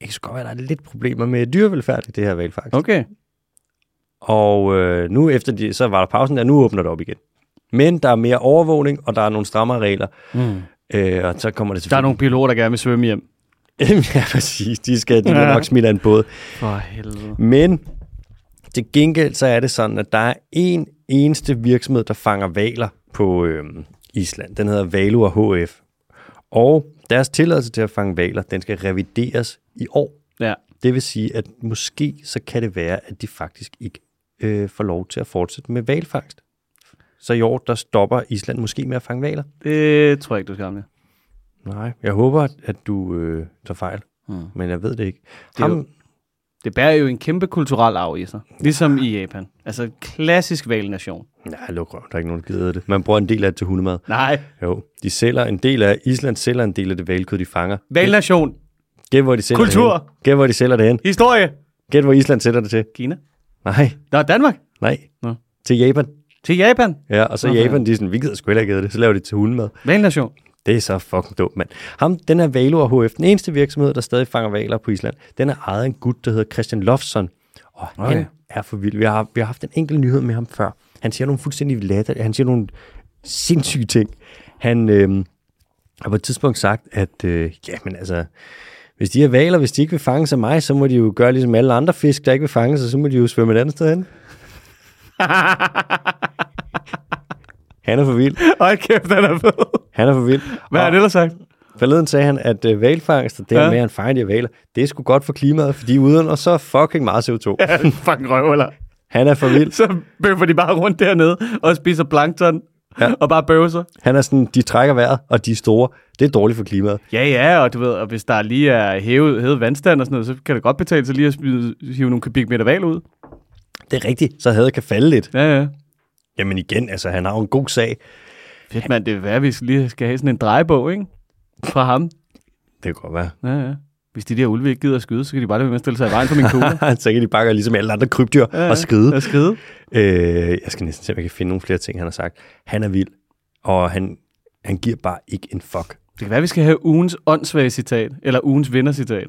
[SPEAKER 1] det kan så godt være, at der er lidt problemer med dyrevelfærd i det her valfangst. Okay.
[SPEAKER 2] Okay.
[SPEAKER 1] Og øh, nu efter de, så var der pausen der, nu åbner det op igen. Men der er mere overvågning, og der er nogle strammere regler. Mm. Øh, og så kommer det til...
[SPEAKER 2] Der er nogle piloter, der gerne vil svømme hjem.
[SPEAKER 1] [LAUGHS] ja, præcis. De skal de bliver nok smidt af en båd.
[SPEAKER 2] For helvede.
[SPEAKER 1] Men til gengæld så er det sådan, at der er en eneste virksomhed, der fanger valer på øh, Island. Den hedder Valur HF. Og deres tilladelse til at fange valer, den skal revideres i år.
[SPEAKER 2] Ja.
[SPEAKER 1] Det vil sige, at måske så kan det være, at de faktisk ikke øh, får lov til at fortsætte med valfangst. Så i år, der stopper Island måske med at fange valer.
[SPEAKER 2] Det tror jeg ikke, du skal have med.
[SPEAKER 1] Nej, jeg håber, at- at du øh, tager fejl, mm. men jeg ved det ikke.
[SPEAKER 2] er
[SPEAKER 1] Ham,
[SPEAKER 2] jo- Det bærer jo en kæmpe kulturel arv i sig. Ligesom i Japan. Altså klassisk valnation.
[SPEAKER 1] Nej, luk røven, der er ikke nogen, der gider det. Man bruger en del af det til hundemad.
[SPEAKER 2] Nej.
[SPEAKER 1] Jo, de sælger en del af, Island sælger en del af det valkød, de fanger.
[SPEAKER 2] Valnation.
[SPEAKER 1] Gæt, hvor de sælger
[SPEAKER 2] Kultur.
[SPEAKER 1] det hen. Gæt, hvor de sælger det hen.
[SPEAKER 2] Historie.
[SPEAKER 1] Gæt, hvor Island sælger det til.
[SPEAKER 2] Kina.
[SPEAKER 1] Nej,
[SPEAKER 2] Nå, Danmark.
[SPEAKER 1] nej.
[SPEAKER 2] Nå.
[SPEAKER 1] Til Japan.
[SPEAKER 2] Til Japan.
[SPEAKER 1] Ja, og så
[SPEAKER 2] Nå, for
[SPEAKER 1] Japan, de er sådan, vi gider sgu heller ikke æde det, så laver de det til hundemad.
[SPEAKER 2] Valnation.
[SPEAKER 1] Det er så fucking dumt, mand. Ham, den her Valor HF, den eneste virksomhed, der stadig fanger valer på Island, den er ejet af en gut, der hedder Christian Lofsson. Og han
[SPEAKER 2] Okay.
[SPEAKER 1] er for vild. Vi har, vi har haft en enkelt nyhed med ham før. Han siger nogle fuldstændig latter, han siger nogle sindssyge ting. Han øh, har på et tidspunkt sagt, at øh, jamen altså, hvis de her valer, hvis de ikke vil fange sig mig, så må de jo gøre ligesom alle andre fisk, der ikke vil fange sig, så må de jo svømme et andet sted
[SPEAKER 2] [LAUGHS]
[SPEAKER 1] hen. han er for vild.
[SPEAKER 2] Hold kæft, den er fed.
[SPEAKER 1] Han er for vild.
[SPEAKER 2] Hvad har
[SPEAKER 1] Og-
[SPEAKER 2] det ellers [LAUGHS] sagt?
[SPEAKER 1] Forleden sagde han, at øh, valfangst, og det ja.
[SPEAKER 2] Ja.
[SPEAKER 1] med, at han fanger de her valer, det er sgu godt for klimaet, fordi uden og så fucking meget CO2. Ja.
[SPEAKER 2] Fucking røvhuller.
[SPEAKER 1] Han er for vild.
[SPEAKER 2] Så bøffer de bare rundt dernede og spiser plankton. Ja. Og bare bøvser.
[SPEAKER 1] Han er sådan, de trækker vejret, og de er store. Det er dårligt for klimaet.
[SPEAKER 2] Ja, ja, og du ved, og hvis der lige er hævet, hævet vandstand og sådan noget, så kan det godt betale sig lige at smide, hive nogle kubikmeter val ud.
[SPEAKER 1] Det er rigtigt, så havde kan falde lidt.
[SPEAKER 2] Ja, ja.
[SPEAKER 1] Jamen igen, altså, han har jo en god sag.
[SPEAKER 2] Fedt, mand. Det vil være, at vi skal lige skal have sådan en drejebog, ikke? Fra ham.
[SPEAKER 1] Det kan godt være.
[SPEAKER 2] Ja, ja. Hvis de der ulve ikke gider at skyde, så kan de bare lade være med at stille sig i vejen på min [LAUGHS]
[SPEAKER 1] [LAUGHS]
[SPEAKER 2] kugle.
[SPEAKER 1] så kan de bare gøre ligesom alle andre krybdyr ja,
[SPEAKER 2] ja.
[SPEAKER 1] og skride.
[SPEAKER 2] Og skride.
[SPEAKER 1] Øh, jeg skal næsten se, om jeg kan finde nogle flere ting, han har sagt. Han er vild, og han, han giver bare ikke en fuck.
[SPEAKER 2] Det kan være, at vi skal have ugens åndssvage citat, eller ugens vindercitat.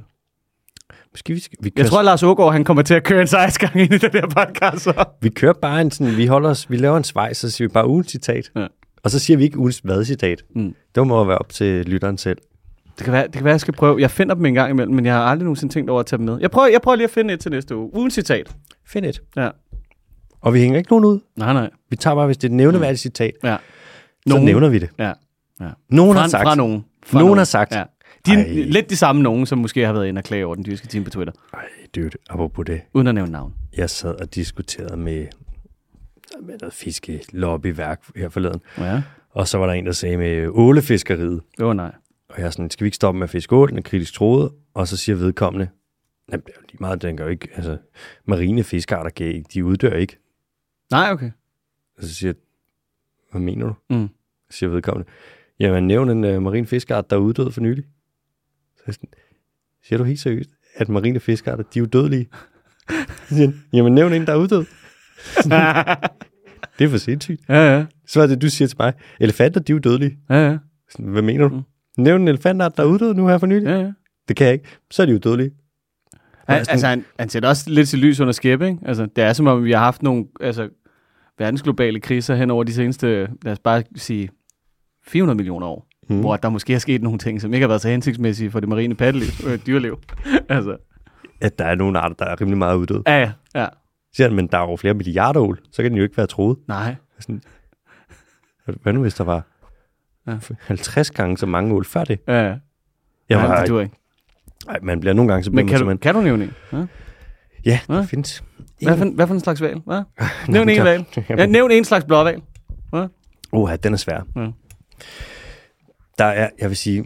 [SPEAKER 1] Måske vi, skal, vi, kører,
[SPEAKER 2] Jeg tror, at Lars Ågaard, han kommer til at køre en sejrsgang ind i den der podcast. Så.
[SPEAKER 1] vi kører bare en sådan, vi holder os, vi laver en svejs, så siger vi bare ugens citat.
[SPEAKER 2] Ja.
[SPEAKER 1] Og så siger vi ikke ugens hvad-citat. Mm.
[SPEAKER 2] Mm.
[SPEAKER 1] Det må jo være op til lytteren selv.
[SPEAKER 2] Det kan, være, det kan være, jeg skal prøve. Jeg finder dem en gang imellem, men jeg har aldrig nogensinde tænkt over at tage dem med. Jeg prøver, jeg prøver lige at finde et til næste uge. Ugens citat.
[SPEAKER 1] Find et.
[SPEAKER 2] Ja.
[SPEAKER 1] Og vi hænger ikke nogen ud.
[SPEAKER 2] Nej, nej.
[SPEAKER 1] Vi tager bare, hvis det er et nævneværdigt citat,
[SPEAKER 2] Ja.
[SPEAKER 1] så
[SPEAKER 2] Mm. Nogen.
[SPEAKER 1] nævner vi det.
[SPEAKER 2] Ja.
[SPEAKER 1] Nogen
[SPEAKER 2] Fra,
[SPEAKER 1] har sagt.
[SPEAKER 2] fra nogen. Fra
[SPEAKER 1] Nogen har sagt.
[SPEAKER 2] Ja. De
[SPEAKER 1] Ej.
[SPEAKER 2] er lidt de samme nogen, som måske har været inde og klage over den dyrske time på Twitter,
[SPEAKER 1] Ej, dude, apropos det.
[SPEAKER 2] uden at nævne navn.
[SPEAKER 1] Jeg sad og diskuterede med, med noget fiske lobbyværk her forleden.
[SPEAKER 2] Ja,
[SPEAKER 1] Og så var der en, der sagde med øh, ålefiskeriet.
[SPEAKER 2] det var nej.
[SPEAKER 1] Og jeg er sådan, skal vi ikke stoppe med at fiske ål? Den er kritisk troet. Og så siger vedkommende, jamen, det er jo lige meget, den gør jo ikke. Altså, marine fiskearter, kan ikke- de uddør ikke.
[SPEAKER 2] Nej, okay.
[SPEAKER 1] Og så siger jeg, hvad mener du?
[SPEAKER 2] Mm.
[SPEAKER 1] Så siger vedkommende, jamen nævn en uh, marine fiskeart, der er uddød for nylig. Så er jeg sådan, siger du helt seriøst, at marine fiskearter, de er udødelige? Så siger han, jamen nævn en, der er uddød. det er for sindssygt.
[SPEAKER 2] Ja, ja.
[SPEAKER 1] Så er det, du siger til mig, elefanter, de er udødelige.
[SPEAKER 2] Ja, ja.
[SPEAKER 1] Sådan, hvad mener du? Mm. Nævn en elefantart, der er uddød nu her for nylig.
[SPEAKER 2] ja, ja.
[SPEAKER 1] Det kan jeg ikke. Så er de udødelige.
[SPEAKER 2] Han, altså, han, han sætter også lidt til lys under skæb, ikke? Altså, det er som om, vi har haft nogle altså, verdensglobale kriser hen over de seneste, lad os bare sige, 400 millioner år. Mm. Hvor der måske er sket nogle ting, som ikke har været så hensigtsmæssige for det marine patteliv, øh, dyreliv. [LAUGHS] altså,
[SPEAKER 1] At der er nogle arter, der er rimelig meget uddøde.
[SPEAKER 2] ja, ja, ja.
[SPEAKER 1] Så Siger han, men der er jo flere milliarder ål, så kan den jo ikke være troet.
[SPEAKER 2] Nej.
[SPEAKER 1] Sådan, hvad nu hvis der var
[SPEAKER 2] Ja.
[SPEAKER 1] 50 gange så mange ål før det?
[SPEAKER 2] Ja, ja.
[SPEAKER 1] Jeg
[SPEAKER 2] Nej,
[SPEAKER 1] var,
[SPEAKER 2] det duer ikke.
[SPEAKER 1] ej, man bliver nogle gange, så bliver
[SPEAKER 2] Men
[SPEAKER 1] man
[SPEAKER 2] kan du,
[SPEAKER 1] simpelthen...
[SPEAKER 2] kan du nævne en? Ja?
[SPEAKER 1] Ja, der
[SPEAKER 2] Hvad?
[SPEAKER 1] findes.
[SPEAKER 2] Hvad, for, en- hvad for en slags val? [LAUGHS] Hvad? Nævn en
[SPEAKER 1] der-
[SPEAKER 2] val. Ja, nævn en slags blåval.
[SPEAKER 1] Oha, den er svær.
[SPEAKER 2] Ja.
[SPEAKER 1] Der er, jeg vil sige...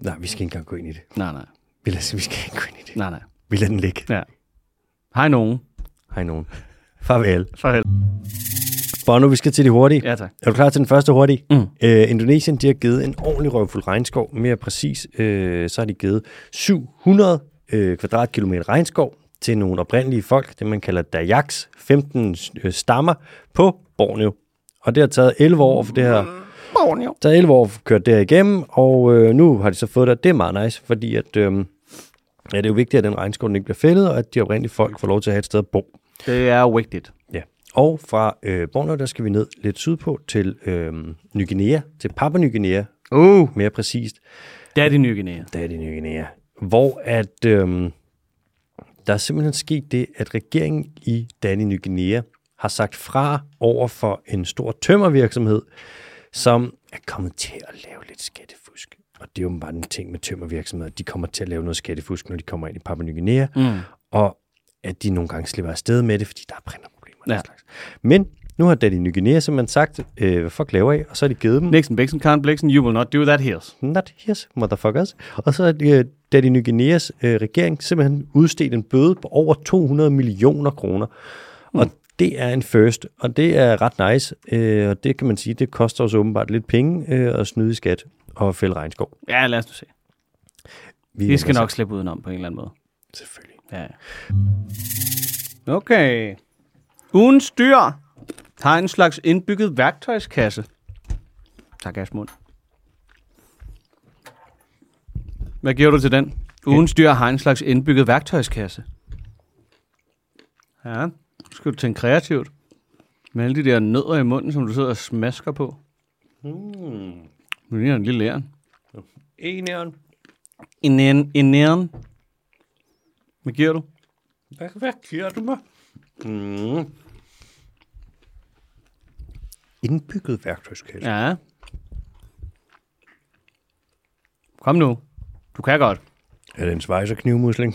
[SPEAKER 1] Nej, vi skal ikke engang gå ind i det.
[SPEAKER 2] Nej, nej.
[SPEAKER 1] Vi lader, vi skal ikke gå ind i det.
[SPEAKER 2] Nej, nej.
[SPEAKER 1] Vi lader den ligge.
[SPEAKER 2] Ja. Hej nogen.
[SPEAKER 1] Hej nogen. Farvel.
[SPEAKER 2] For helvede.
[SPEAKER 1] Bono, vi skal til det hurtige.
[SPEAKER 2] Ja, tak.
[SPEAKER 1] Er du klar til den første hurtige?
[SPEAKER 2] Mm.
[SPEAKER 1] Øh, Indonesien de har givet en ordentlig røvfuld regnskov. Mere præcis, øh, så har de givet 700 øh, kvadratkilometer regnskov til nogle oprindelige folk, det man kalder Dayaks, 15 øh, stammer på Borneo. Og det har taget 11 år for det her
[SPEAKER 2] Borneo.
[SPEAKER 1] taget 11 år kørt der igennem, og øh, nu har de så fået det. Det er meget nice, fordi at, øh, ja, det er jo vigtigt, at den regnskov den ikke bliver fældet, og at de oprindelige folk får lov til at have et sted at bo.
[SPEAKER 2] Det er vigtigt.
[SPEAKER 1] Ja. Og fra øh, Borneo, der skal vi ned lidt sydpå til øh, Ny Guinea, til Papua Ny Guinea,
[SPEAKER 2] Uh.
[SPEAKER 1] mere præcist.
[SPEAKER 2] Det er de nye Guinea.
[SPEAKER 1] Der er det Ny Guinea. Hvor at, øh, der er simpelthen sket det, at regeringen i Danny Ny Guinea har sagt fra over for en stor tømmervirksomhed, som er kommet til at lave lidt skattefusk. Og det er jo bare en ting med tømmervirksomheder. De kommer til at lave noget skattefusk, når de kommer ind i Papua Ny Guinea. Mm. Og at de nogle gange slipper afsted med det, fordi der er printerproblemer. og den
[SPEAKER 2] Ja.
[SPEAKER 1] slags. Men nu har Danny Ny Guinea simpelthen sagt, øh, hvad fuck laver I? Og så har de givet dem
[SPEAKER 2] Nixon, Bixen, Karen Blixen, you will not do that here.
[SPEAKER 1] not his motherfuckers. Og så øh, da de Ny Guineas øh, regering simpelthen udstedte en bøde på over 200 millioner kroner.
[SPEAKER 2] Mm.
[SPEAKER 1] Og det er en first, og det er ret nice. Øh, og det kan man sige, det koster os åbenbart lidt penge øh, at snyde i skat og fælde regnskov.
[SPEAKER 2] Ja, lad os nu se.
[SPEAKER 1] Vi,
[SPEAKER 2] Vi skal
[SPEAKER 1] vender
[SPEAKER 2] nok slippe udenom på en eller anden måde.
[SPEAKER 1] os- Selvfølgelig.
[SPEAKER 2] Ja. Okay. Ugens dyr har en slags indbygget værktøjskasse. Tak, Asmund. Hvad giver du til den? Ugens dyr har en slags indbygget værktøjskasse. Ja, nu skal du tænke kreativt. Med alle de der nødder i munden, som du sidder og smasker på. Mm. Det ligner en lille æren.
[SPEAKER 1] Eneren.
[SPEAKER 2] En æren. En æren. Hvad giver du?
[SPEAKER 1] Hvad, hvad giver du mig? Mm. Indbygget værktøjskasse. Ja.
[SPEAKER 2] Ja. Kom nu. Du kan godt.
[SPEAKER 1] Er det en svejs og [LAUGHS] knivmusling?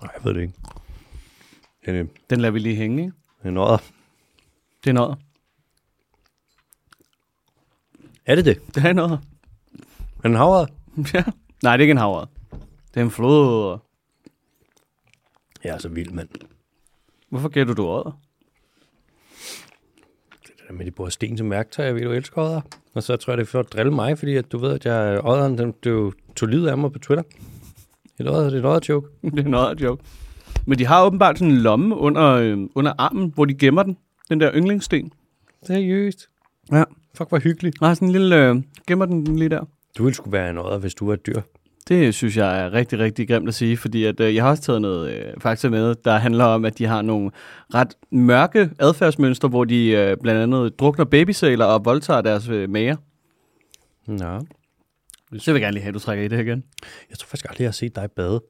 [SPEAKER 1] Nej, jeg ved det ikke. Er det
[SPEAKER 2] Den lader vi lige hænge, ikke?
[SPEAKER 1] en odder?
[SPEAKER 2] Det er noget.
[SPEAKER 1] Er det det?
[SPEAKER 2] Det er noget.
[SPEAKER 1] Er det en havre?
[SPEAKER 2] [LAUGHS] ja. Nej, det er ikke en havre. Det er en flod.
[SPEAKER 1] Jeg er så vild, mand.
[SPEAKER 2] Hvorfor gætter du året?
[SPEAKER 1] Det der med, at de bruger sten som værktøj, jeg ved, du elsker odder. Og så tror jeg, det er for at drille mig, fordi at du ved, at jeg odderen, den blev tog livet af mig på Twitter. Et odder, det er et odder-joke.
[SPEAKER 2] [LAUGHS] det er noget af et joke. Men de har åbenbart sådan en lomme under, øh, under armen, hvor de gemmer den. Den der yndlingssten.
[SPEAKER 1] Seriøst.
[SPEAKER 2] Ja.
[SPEAKER 1] Fuck, hvor hyggeligt.
[SPEAKER 2] Der er sådan en lille... Øh, gemmer den lige der.
[SPEAKER 1] Du ville skulle være en odder, hvis du var et dyr.
[SPEAKER 2] Det synes jeg er rigtig, rigtig grimt at sige, fordi at, øh, jeg har også taget noget øh, fakta med, der handler om, at de har nogle ret mørke adfærdsmønstre, hvor de øh, blandt andet drukner babysæler og voldtager deres øh, mager.
[SPEAKER 1] Nå.
[SPEAKER 2] Så jeg vil gerne lige have, at du trækker i det her igen.
[SPEAKER 1] Jeg tror faktisk aldrig, jeg har set dig bade.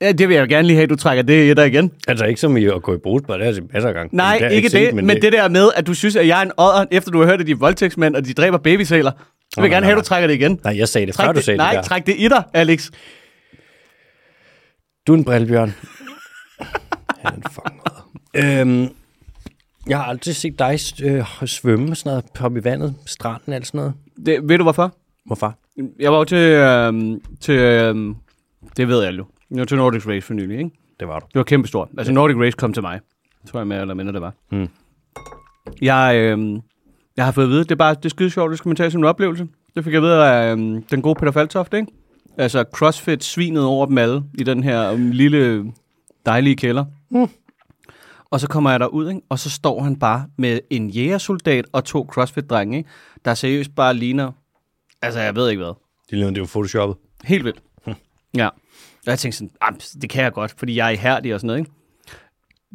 [SPEAKER 2] Ja, det vil jeg jo gerne lige have, at du trækker det i dig igen.
[SPEAKER 1] Altså ikke som i at gå i brud, bare det er altså masser af gange.
[SPEAKER 2] Nej,
[SPEAKER 1] Det har jeg
[SPEAKER 2] ikke det,
[SPEAKER 1] set,
[SPEAKER 2] men, det, der med, at du synes, at jeg er en odder, efter du har hørt, at de er voldtægtsmænd, og de dræber babysæler. Så vil
[SPEAKER 1] nej,
[SPEAKER 2] jeg gerne
[SPEAKER 1] nej,
[SPEAKER 2] have, at
[SPEAKER 1] nej.
[SPEAKER 2] du trækker det igen.
[SPEAKER 1] Nej, jeg sagde det,
[SPEAKER 2] Træk
[SPEAKER 1] før du sagde
[SPEAKER 2] nej,
[SPEAKER 1] det der.
[SPEAKER 2] træk det i dig, Alex.
[SPEAKER 1] Du er en brillebjørn. [LAUGHS] Han er en fucking odder. øhm, jeg har aldrig set dig øh, svømme, sådan noget, hoppe i vandet, stranden, alt sådan noget.
[SPEAKER 2] Det, ved du hvorfor?
[SPEAKER 1] Hvorfor?
[SPEAKER 2] Jeg var jo til, øhm, til øhm, det ved jeg jo. Jeg var til Nordic Race for nylig, ikke?
[SPEAKER 1] Det var du.
[SPEAKER 2] Det var kæmpestort. Altså Nordic Race kom til mig. Tror jeg mere eller mindre, det var.
[SPEAKER 1] Mm.
[SPEAKER 2] Jeg, øh, jeg har fået at vide, det er bare det er skide sjovt, det skal man tage som en oplevelse. Det fik jeg ved af øh, den gode Peter Faltoft, ikke? Altså CrossFit svinede over dem alle i den her øh, lille dejlige kælder. Mm. Og så kommer jeg derud, ikke? og så står han bare med en jægersoldat og to CrossFit-drenge, ikke? der seriøst bare ligner... Altså, jeg ved ikke hvad.
[SPEAKER 1] Det lød, det var photoshoppet.
[SPEAKER 2] Helt vildt. Ja. Hm. Og jeg tænkte sådan, "Ah, det kan jeg godt, fordi jeg er ihærdig og sådan noget, ikke?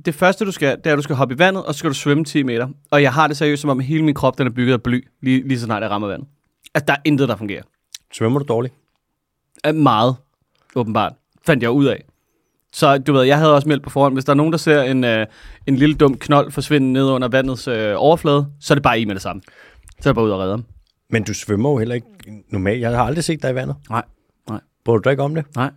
[SPEAKER 2] Det første, du skal, det er, at du skal hoppe i vandet, og så skal du svømme 10 meter. Og jeg har det seriøst, som om hele min krop, den er bygget af bly, lige, lige så snart jeg rammer vandet. Altså, der er intet, der fungerer.
[SPEAKER 1] Svømmer du dårligt?
[SPEAKER 2] Er meget, åbenbart, fandt jeg ud af. Så du ved, jeg havde også meldt på forhånd, hvis der er nogen, der ser en, øh, en lille dum knold forsvinde ned under vandets øh, overflade, så er det bare i med det samme. Så er jeg bare ud og redder dem.
[SPEAKER 1] Men du svømmer jo heller ikke normalt. Jeg har aldrig set dig i vandet.
[SPEAKER 2] Nej, nej.
[SPEAKER 1] Bryder du dig ikke om det?
[SPEAKER 2] Nej.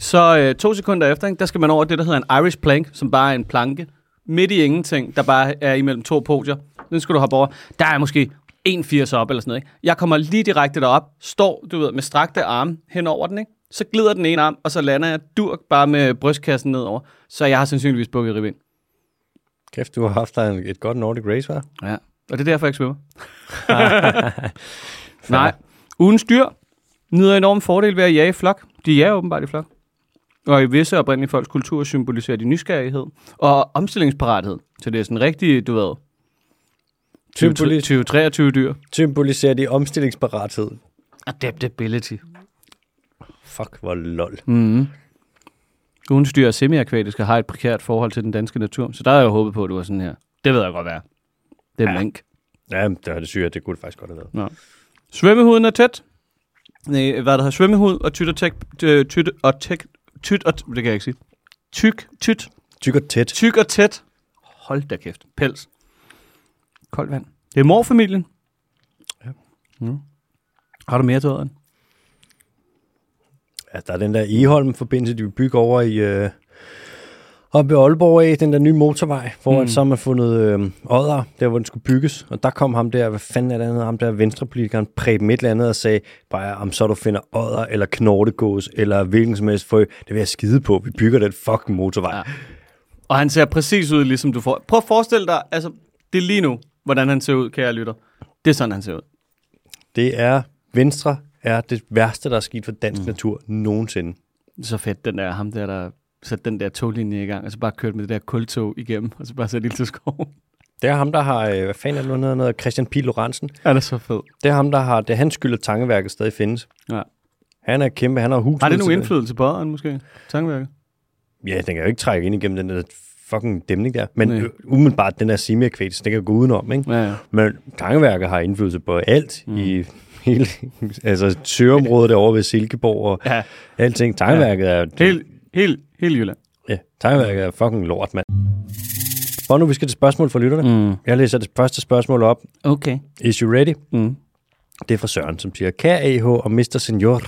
[SPEAKER 2] Så øh, to sekunder efter, ikke, der skal man over det, der hedder en Irish plank, som bare er en planke midt i ingenting, der bare er imellem to podier. Den skal du hoppe over. Der er måske 1,80 op eller sådan noget. Ikke? Jeg kommer lige direkte derop, står du ved, med strakte arme hen over den, ikke? så glider den ene arm, og så lander jeg durk bare med brystkassen nedover. Så jeg har sandsynligvis bukket ribben.
[SPEAKER 1] Kæft, du har haft dig en- et godt Nordic Race, hva'?
[SPEAKER 2] Ja. Og det er derfor, jeg ikke svømmer. [LAUGHS] Nej. Uden styr nyder enorm fordel ved at jage i flok. De jager åbenbart i flok. Og i visse oprindelige folks kultur symboliserer de nysgerrighed og omstillingsparathed. Så det er sådan rigtig, du ved, 20
[SPEAKER 1] Symboli-
[SPEAKER 2] 20-23 dyr.
[SPEAKER 1] Symboliserer de omstillingsparathed.
[SPEAKER 2] Adaptability.
[SPEAKER 1] Fuck, hvor lol.
[SPEAKER 2] Mm. Uden styr og semiakvatiske har et prekært forhold til den danske natur. Så der havde jeg jo håbet på, at det var sådan her. Det ved jeg godt være. Det er ja. mink.
[SPEAKER 1] Ja, det var det syge, at det kunne det faktisk godt have været.
[SPEAKER 2] Svømmehuden er tæt. Nej, hvad der hedder svømmehud og tyt og tæk, øh, tyt og tæk, tyt og, det kan jeg ikke sige. Tyk, tyt,
[SPEAKER 1] Tyk og tæt.
[SPEAKER 2] tyk og tæt. Hold da kæft. Pels. Koldt vand. Det er morfamilien.
[SPEAKER 1] Ja.
[SPEAKER 2] Mm. Har du mere til ådderen?
[SPEAKER 1] Altså, der er den der Eholm-forbindelse, de vil bygge over i... Øh, oppe i Aalborg af, den der nye motorvej, hvor mm. så har man fundet øh, Odder, der hvor den skulle bygges. Og der kom ham der, hvad fanden er det andet, ham der venstrepolitikeren, Preben et eller andet, og sagde bare, om så du finder Odder, eller Knortegås, eller hvilken som helst frø, det vil jeg skide på, vi bygger den fucking motorvej.
[SPEAKER 2] Ja.
[SPEAKER 1] Ja.
[SPEAKER 2] Og han ser præcis ud, ligesom du får. Prøv at forestille dig, altså, det er lige nu, hvordan han ser ud, kære lytter. Det er sådan, han ser ud.
[SPEAKER 1] Det er, Venstre er det værste, der er sket for dansk mm. natur nogensinde.
[SPEAKER 2] Så fedt, den der, ham der, der satte den der toglinje i gang, og så bare kørte med det der kultog igennem, og så bare satte ild til skoven. [LAUGHS]
[SPEAKER 1] Det er ham, der har, øh, hvad fanden er det, nu, han hedder, noget, Christian P. Lorentzen.
[SPEAKER 2] Ja, det er så fedt.
[SPEAKER 1] Det er ham, der har, det er hans skyld, at tankeværket stadig findes.
[SPEAKER 2] Ja.
[SPEAKER 1] Han er kæmpe, han har hus.
[SPEAKER 2] Har det nogen
[SPEAKER 1] tilbage.
[SPEAKER 2] indflydelse på ådderen, måske? Tankeværket?
[SPEAKER 1] Ja, den kan jo ikke trække ind igennem den der fucking dæmning der. Men
[SPEAKER 2] Nej.
[SPEAKER 1] øh, umiddelbart, den der semiakvætis, den kan gå udenom, ikke?
[SPEAKER 2] Ja, ja.
[SPEAKER 1] Men tankeværker har indflydelse på alt mm. i hele, altså søområdet derovre ved Silkeborg og
[SPEAKER 2] ja.
[SPEAKER 1] alting. Tankeværket er,
[SPEAKER 2] Helt, helt, helt Jylland.
[SPEAKER 1] ja, tankeværket er fucking lort, mand. Og nu vi skal til spørgsmål fra lytterne.
[SPEAKER 2] Mm.
[SPEAKER 1] Jeg læser det første spørgsmål op.
[SPEAKER 2] Okay.
[SPEAKER 1] Is you ready?
[SPEAKER 2] Mm.
[SPEAKER 1] Det er fra Søren, som siger, Kære AH og Mr. Senior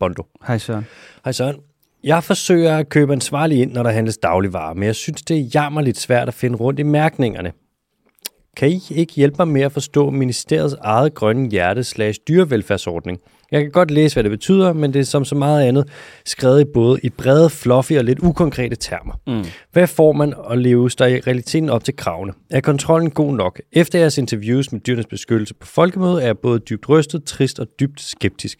[SPEAKER 1] Bondo.
[SPEAKER 2] Hej Søren.
[SPEAKER 1] Hej Søren. Jeg forsøger at købe ansvarlig ind, når der handles dagligvarer, men jeg synes, det er jammerligt svært at finde rundt i mærkningerne. Kan I ikke hjælpe mig med at forstå ministeriets eget grønne hjerte slash dyrevelfærdsordning? Jeg kan godt læse, hvad det betyder, men det er som så meget andet skrevet i både i brede, fluffy og lidt ukonkrete termer. Mm. Hvad får man og leves der i realiteten op til kravene? Er kontrollen god nok? Efter jeres interviews med dyrenes beskyttelse på folkemødet er jeg både dybt rystet, trist og dybt skeptisk.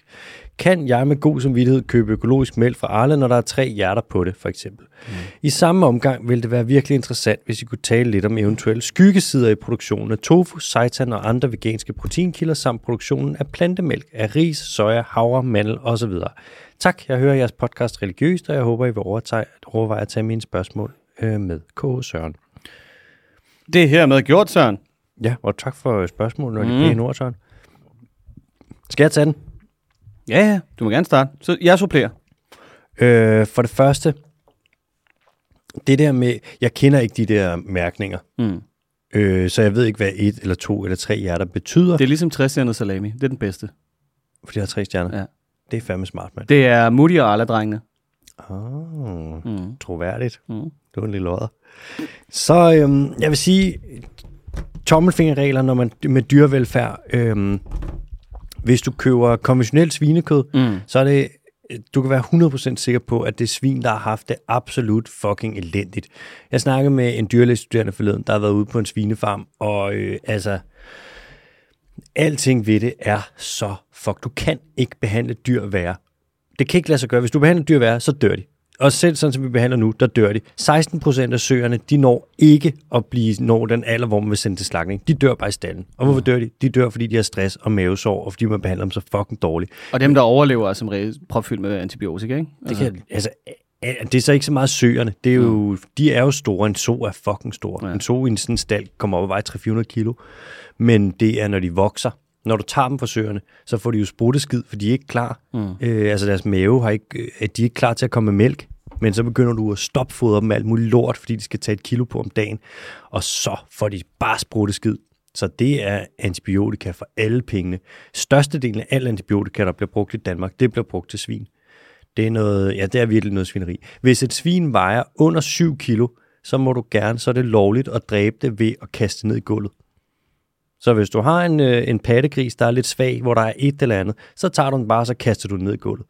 [SPEAKER 1] Kan jeg med god samvittighed købe økologisk mælk fra Arla, når der er tre hjerter på det, for eksempel? Mm. I samme omgang ville det være virkelig interessant, hvis I kunne tale lidt om eventuelle skyggesider i produktionen af tofu, seitan og andre veganske proteinkilder, samt produktionen af plantemælk, af ris, soja, havre, mandel osv. Tak, jeg hører jeres podcast religiøst, og jeg håber, I vil overtage, overveje at tage mine spørgsmål øh, med K. Søren.
[SPEAKER 2] Det er hermed gjort, Søren.
[SPEAKER 1] Ja, og tak for øh, spørgsmålet, og de pæne ord, Søren. Skal jeg tage den?
[SPEAKER 2] Ja, ja. Du må gerne starte. Så jeg supplerer.
[SPEAKER 1] Øh, for det første, det der med, jeg kender ikke de der mærkninger,
[SPEAKER 2] Mm.
[SPEAKER 1] øh, så jeg ved ikke, hvad et eller to eller tre hjerter betyder,
[SPEAKER 2] Det
[SPEAKER 1] det...
[SPEAKER 2] er ligesom 60 salami. Det er den bedste.
[SPEAKER 1] fordi jeg har tre stjerner.
[SPEAKER 2] Ja.
[SPEAKER 1] Det er fandme smart, mand.
[SPEAKER 2] Det er Moody og Arla-drengene.
[SPEAKER 1] Oh,
[SPEAKER 2] Mm.
[SPEAKER 1] troværdigt.
[SPEAKER 2] Mm.
[SPEAKER 1] Det var en lille odder. Så øhm, jeg vil sige, tommelfingerregler, når man med dyrevelfærd, øhm, hvis du køber konventionelt svinekød,
[SPEAKER 2] Mm.
[SPEAKER 1] så er det, du kan være 100% sikker på, at det er svin, der har haft det absolut fucking elendigt. Jeg snakkede med en dyrlægestuderende forleden, der har været ude på en svinefarm, og øh, altså, alting ved det er så fuck. Du kan ikke behandle dyr værre. Det kan ikke lade sig gøre. Hvis du behandler dyr værre, så dør de. Og selv sådan, som vi behandler nu, der dør de. 16% af søerne, de når ikke at blive når den alder, hvor man vil sende til slagning. De dør bare i stallen. Og hvorfor dør de? De dør, fordi de har stress og mavesår, og fordi man behandler dem så fucking dårligt.
[SPEAKER 2] Og dem, der overlever, er som regel propfyldt med antibiotika, ikke?
[SPEAKER 1] Det, kan, altså, øh, det er så ikke så meget søerne. Det er jo, mm. De er jo store. En so er fucking stor.
[SPEAKER 2] Ja.
[SPEAKER 1] Ja. En so i en sådan en stald kommer op og vejer 300-400 kilo. Men det er, når de vokser. Når du tager dem fra søerne, så får de jo sprutteskid, for de er ikke klar. Mm. Øh, altså deres mave har ikke, øh, at de er ikke klar til at komme med mælk. Men så begynder du at stopfodre dem med alt muligt lort, fordi de skal tage et kilo på om dagen. Og så får de bare sprutteskid. Så det er antibiotika for alle pengene. Størstedelen af al antibiotika, der bliver brugt i Danmark, det bliver brugt til svin. Det er, noget, ja, det er virkelig noget svineri. Hvis et svin vejer under 7 kilo, så må du gerne, så er det lovligt at dræbe det ved at kaste det ned i gulvet. Så hvis du har en, øh, en pattegris, der er lidt svag, hvor der er et eller andet, så tager du den bare, og så kaster du den ned i gulvet.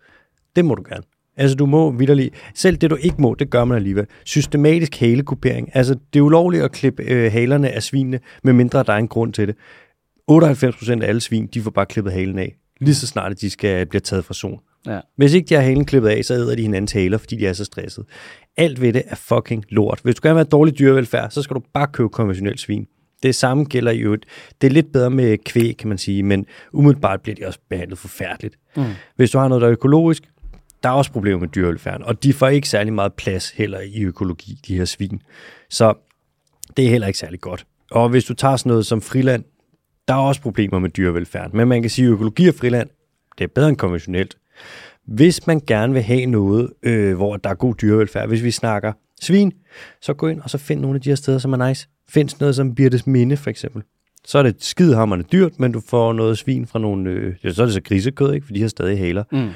[SPEAKER 1] Det må du gerne. Altså, du må vidderlig. Selv det, du ikke må, det gør man alligevel. Systematisk halekupering. Altså, det er ulovligt at klippe øh, halerne af svinene, medmindre der er en grund til det. 98% af alle svin, de får bare klippet halen af, lige så snart at de skal bliver taget fra zon.
[SPEAKER 2] Ja.
[SPEAKER 1] Hvis ikke de har halen klippet af, så æder de hinandens haler, fordi de er så stresset. Alt ved det er fucking lort. Hvis du gerne vil have dårlig dyrevelfærd, så skal du bare købe konventionelt svin. Det samme gælder jo, et- det er lidt bedre med kvæg, kan man sige, men umiddelbart bliver de også behandlet forfærdeligt. Mm. Hvis du har noget, der er økologisk, der er også problemer med dyrevelfærden, og de får ikke særlig meget plads heller i økologi, de her svin. Så det er heller ikke særlig godt. Og hvis du tager sådan noget som friland, der er også problemer med dyrevelfærd. Men man kan sige, at økologi og friland, det er bedre end konventionelt. Hvis man gerne vil have noget, øh, hvor der er god dyrevelfærd, hvis vi snakker svin, så gå ind og så find nogle af de her steder, som er nice. Find sådan noget som Birtes Minde, for eksempel. Så er det skidehammerende dyrt, men du får noget svin fra nogle... Øh, ja, så er det så grisekød, ikke? For de har stadig haler. Mm.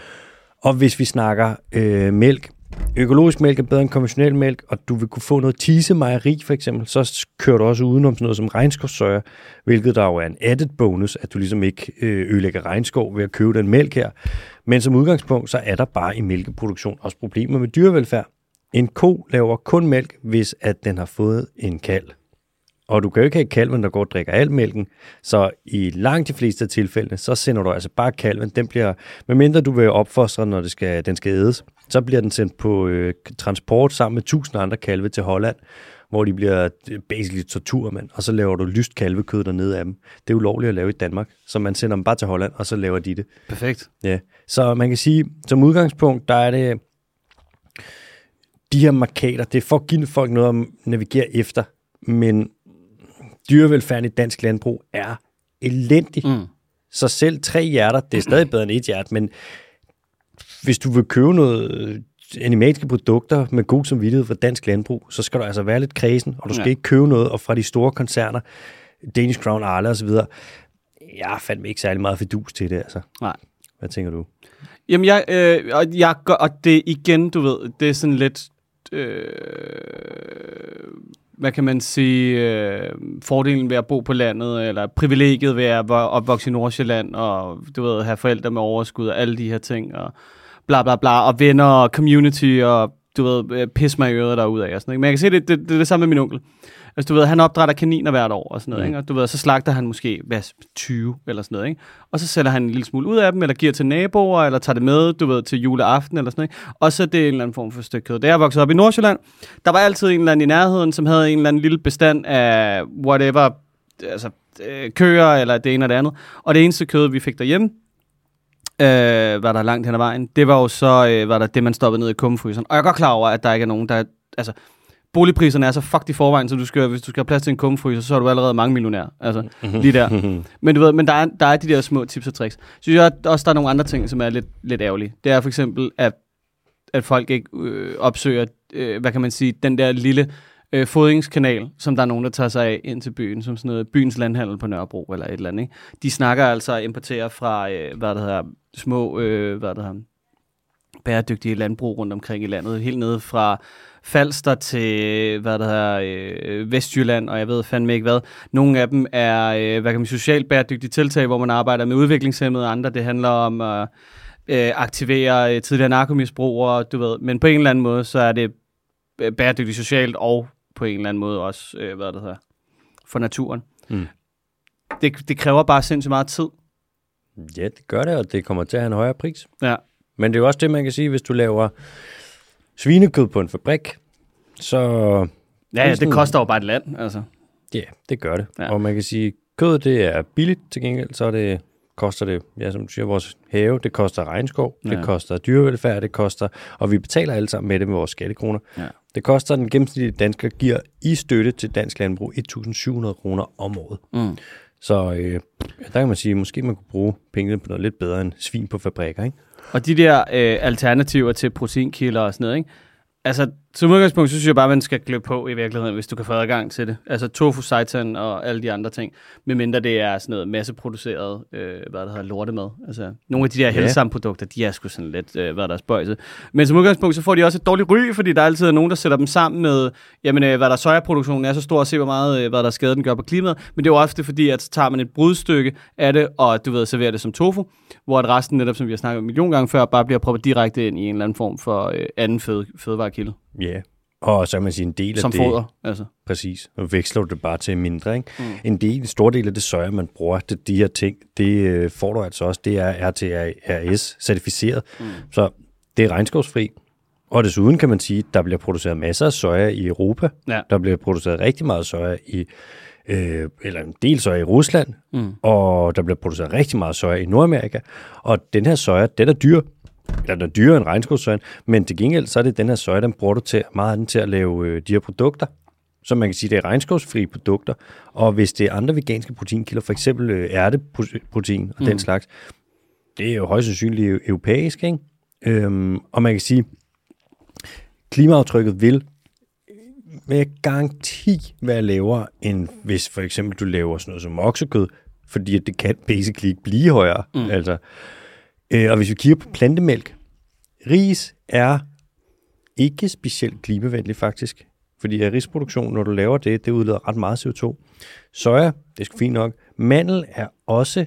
[SPEAKER 1] Og hvis vi snakker øh, mælk, økologisk mælk er bedre end konventionel mælk, og du vil kunne få noget tise mejeri for eksempel, så s- kører du også udenom sådan noget som regnskovsøjer, hvilket der jo er en added bonus, at du ligesom ikke øh, ødelægger regnskov ved at købe den mælk her. Men som udgangspunkt, så er der bare i mælkeproduktion også problemer med dyrevelfærd. En ko laver kun mælk, hvis at den har fået en kalv. Og du kan jo ikke have kalven, der går og drikker al mælken. Så i langt de fleste af tilfældene, så sender du altså bare kalven. Den bliver, medmindre du vil opfostre, den, når det skal, den skal ædes, så bliver den sendt på øh, transport sammen med tusind andre kalve til Holland, hvor de bliver øh, basically tortur, mand. Og så laver du lyst kalvekød dernede af dem. Det er ulovligt at lave i Danmark, så man sender dem bare til Holland, og så laver de det.
[SPEAKER 2] Perfekt.
[SPEAKER 1] Ja, så man kan sige, som udgangspunkt, der er det de her markader, det er for at give folk noget at navigere efter, men dyrevelfærden i dansk landbrug er elendig. Mm. Så selv tre hjerter, det er stadig bedre end et hjerte, men hvis du vil købe noget øh, animalske produkter med god samvittighed fra dansk landbrug, så skal du altså være lidt kredsen, og du skal
[SPEAKER 2] Ja.
[SPEAKER 1] ja. ikke købe noget og fra de store koncerner, Danish Crown, Arla osv. Jeg er fandme ikke særlig meget fidus til det, altså.
[SPEAKER 2] Nej.
[SPEAKER 1] Hvad tænker du?
[SPEAKER 2] Jamen, jeg, øh, og, jeg, gør- og det igen, du ved, det er sådan lidt, øh, hvad kan man sige, øh, fordelen ved at bo på landet, eller privilegiet ved at vo- opvokse i Nordsjælland, og du ved, have forældre med overskud, og alle de her ting, og bla bla bla, og venner, og community, og du ved, øh, pis mig i øret derude af, og sådan, ikke? Men jeg kan se, det, det, det er det samme med min onkel. Altså, du ved, han opdrætter kaniner hvert år, og sådan noget, ikke? Og du ved, så slagter han måske, hvad, 20 eller sådan noget, ikke? Og så sælger han en lille smule ud af dem, eller giver til naboer, eller tager det med, du ved, til juleaften eller sådan noget, ikke? Og så er det en eller anden form for stykke kød. Da jeg voksede op i Nordsjælland, der var altid en eller anden i nærheden, som havde en eller anden lille bestand af whatever, altså øh, køer, eller det ene og det andet. Og det eneste kød, vi fik derhjemme, øh, var der langt hen ad vejen, det var jo så øh, var der det, man stoppede ned i kummefryseren. Og jeg er godt klar over, at der ikke er nogen, der... Altså, boligpriserne er så fucked i forvejen, så du skal, hvis du skal have plads til en kummefryser, så er du allerede mange millionær. Altså, lige der. Men du ved, men der er, der er de der små tips og tricks. Synes jeg også, der er nogle andre ting, som er lidt, lidt ærgerlige. Det er for eksempel, at at folk ikke øh, opsøger, øh, hvad kan man sige, den der lille øh, fodringskanal, som der er nogen, der tager sig af ind til byen, som sådan noget byens landhandel på Nørrebro eller et eller andet. Ikke? De snakker altså og importerer fra, øh, hvad det hedder, små, øh, hvad det hedder, bæredygtige landbrug rundt omkring i landet, helt nede fra Falster til, hvad der hedder, øh, Vestjylland, og jeg ved fandme ikke hvad. Nogle af dem er, øh, hvad kan man sige, socialt bæredygtige tiltag, hvor man arbejder med udviklingshemmede, og andre det handler om at øh, aktivere øh, tidligere narkomisbrugere, du ved. Men på en eller anden måde, så er det øh, bæredygtigt socialt, og på en eller anden måde også, øh, hvad det hedder, for naturen.
[SPEAKER 1] Mm.
[SPEAKER 2] Det, det kræver bare sindssygt meget tid.
[SPEAKER 1] Ja, det gør det, og det kommer til at have en højere pris.
[SPEAKER 2] Ja.
[SPEAKER 1] Men det er jo også det, man kan sige, hvis du laver svinekød på en fabrik, så
[SPEAKER 2] Ja, ja, det
[SPEAKER 1] sådan-
[SPEAKER 2] koster jo bare et land, altså.
[SPEAKER 1] ja, det gør det.
[SPEAKER 2] Ja.
[SPEAKER 1] Ja. Og man kan sige, kød det er billigt til gengæld, så er det, koster det, ja, som du siger, vores have, det koster regnskov, ja.
[SPEAKER 2] Ja.
[SPEAKER 1] det koster dyrevelfærd, det koster, og vi betaler alle sammen med det med vores skattekroner.
[SPEAKER 2] Ja.
[SPEAKER 1] Det koster den gennemsnitlige dansker giver i støtte til dansk landbrug 1.700 kroner om året.
[SPEAKER 2] Mm.
[SPEAKER 1] Så øh, der kan man sige, måske man kunne bruge pengene på noget lidt bedre end svin på fabrikker, ikke?
[SPEAKER 2] Og de der øh, alternativer til proteinkilder og sådan noget, ikke? Altså, som udgangspunkt, så synes jeg bare, man skal glø på i virkeligheden, hvis du kan få adgang til det. Altså tofu, seitan og alle de andre ting. Medmindre det er sådan noget masseproduceret, øh, hvad det hedder, lortemad. Altså, nogle af de der helsamme produkter, de er sgu sådan lidt, øh, hvad der er spøjset. Men som udgangspunkt, så får de også et dårligt ry, fordi der altid er nogen, der sætter dem sammen med, jamen, øh, hvad der er, sojaproduktionen er så stor, og se, hvor meget, øh, hvad der er skade, den gør på klimaet. Men det er jo ofte fordi, at så tager man et brudstykke af det, og du ved, serverer det som tofu, hvor at resten, netop som vi har snakket om en million gange før, bare bliver proppet direkte ind i en eller anden form for øh, anden føde, fødevarekilde,
[SPEAKER 1] Ja. Yeah. Og så kan man sige, en del
[SPEAKER 2] som
[SPEAKER 1] af det...
[SPEAKER 2] foder. Altså.
[SPEAKER 1] Præcis. Og veksler du det bare til mindre. Ikke? Mm. En, del, en stor del af det soja, man bruger til de her ting, det øh, får du altså også. Det er RTRS-certificeret. Mm. Så det er regnskovsfri. Og desuden kan man sige, at der bliver produceret masser af soja i Europa.
[SPEAKER 2] Ja.
[SPEAKER 1] Der bliver produceret rigtig meget soja i, øh, eller en del soja i Rusland. Mm. Og der bliver produceret rigtig meget soja i Nordamerika. Og den her soja, den er dyr. Eller den er dyrere end regnskovssojen. Men til gengæld, så er det den her soja, den bruger du til, meget af den til at lave øh, de her produkter. Så man kan sige, det er regnskovsfrie produkter. Og hvis det er andre veganske proteinkilder, for eksempel øh, ærteprotein og mm. den slags, det er jo højst sandsynligt eu- europæisk, ikke? Øhm, og man kan sige, klimaaftrykket vil med garanti være lavere, end hvis for eksempel du laver sådan noget som oksekød, fordi at det kan basically ikke blive højere. Mm. Altså. Øh, og hvis vi kigger på plantemælk, ris er ikke specielt klimavenlig faktisk, fordi at risproduktion, når du laver det, det udleder ret meget CO2. Soja, det er sgu fint nok. Mandel er også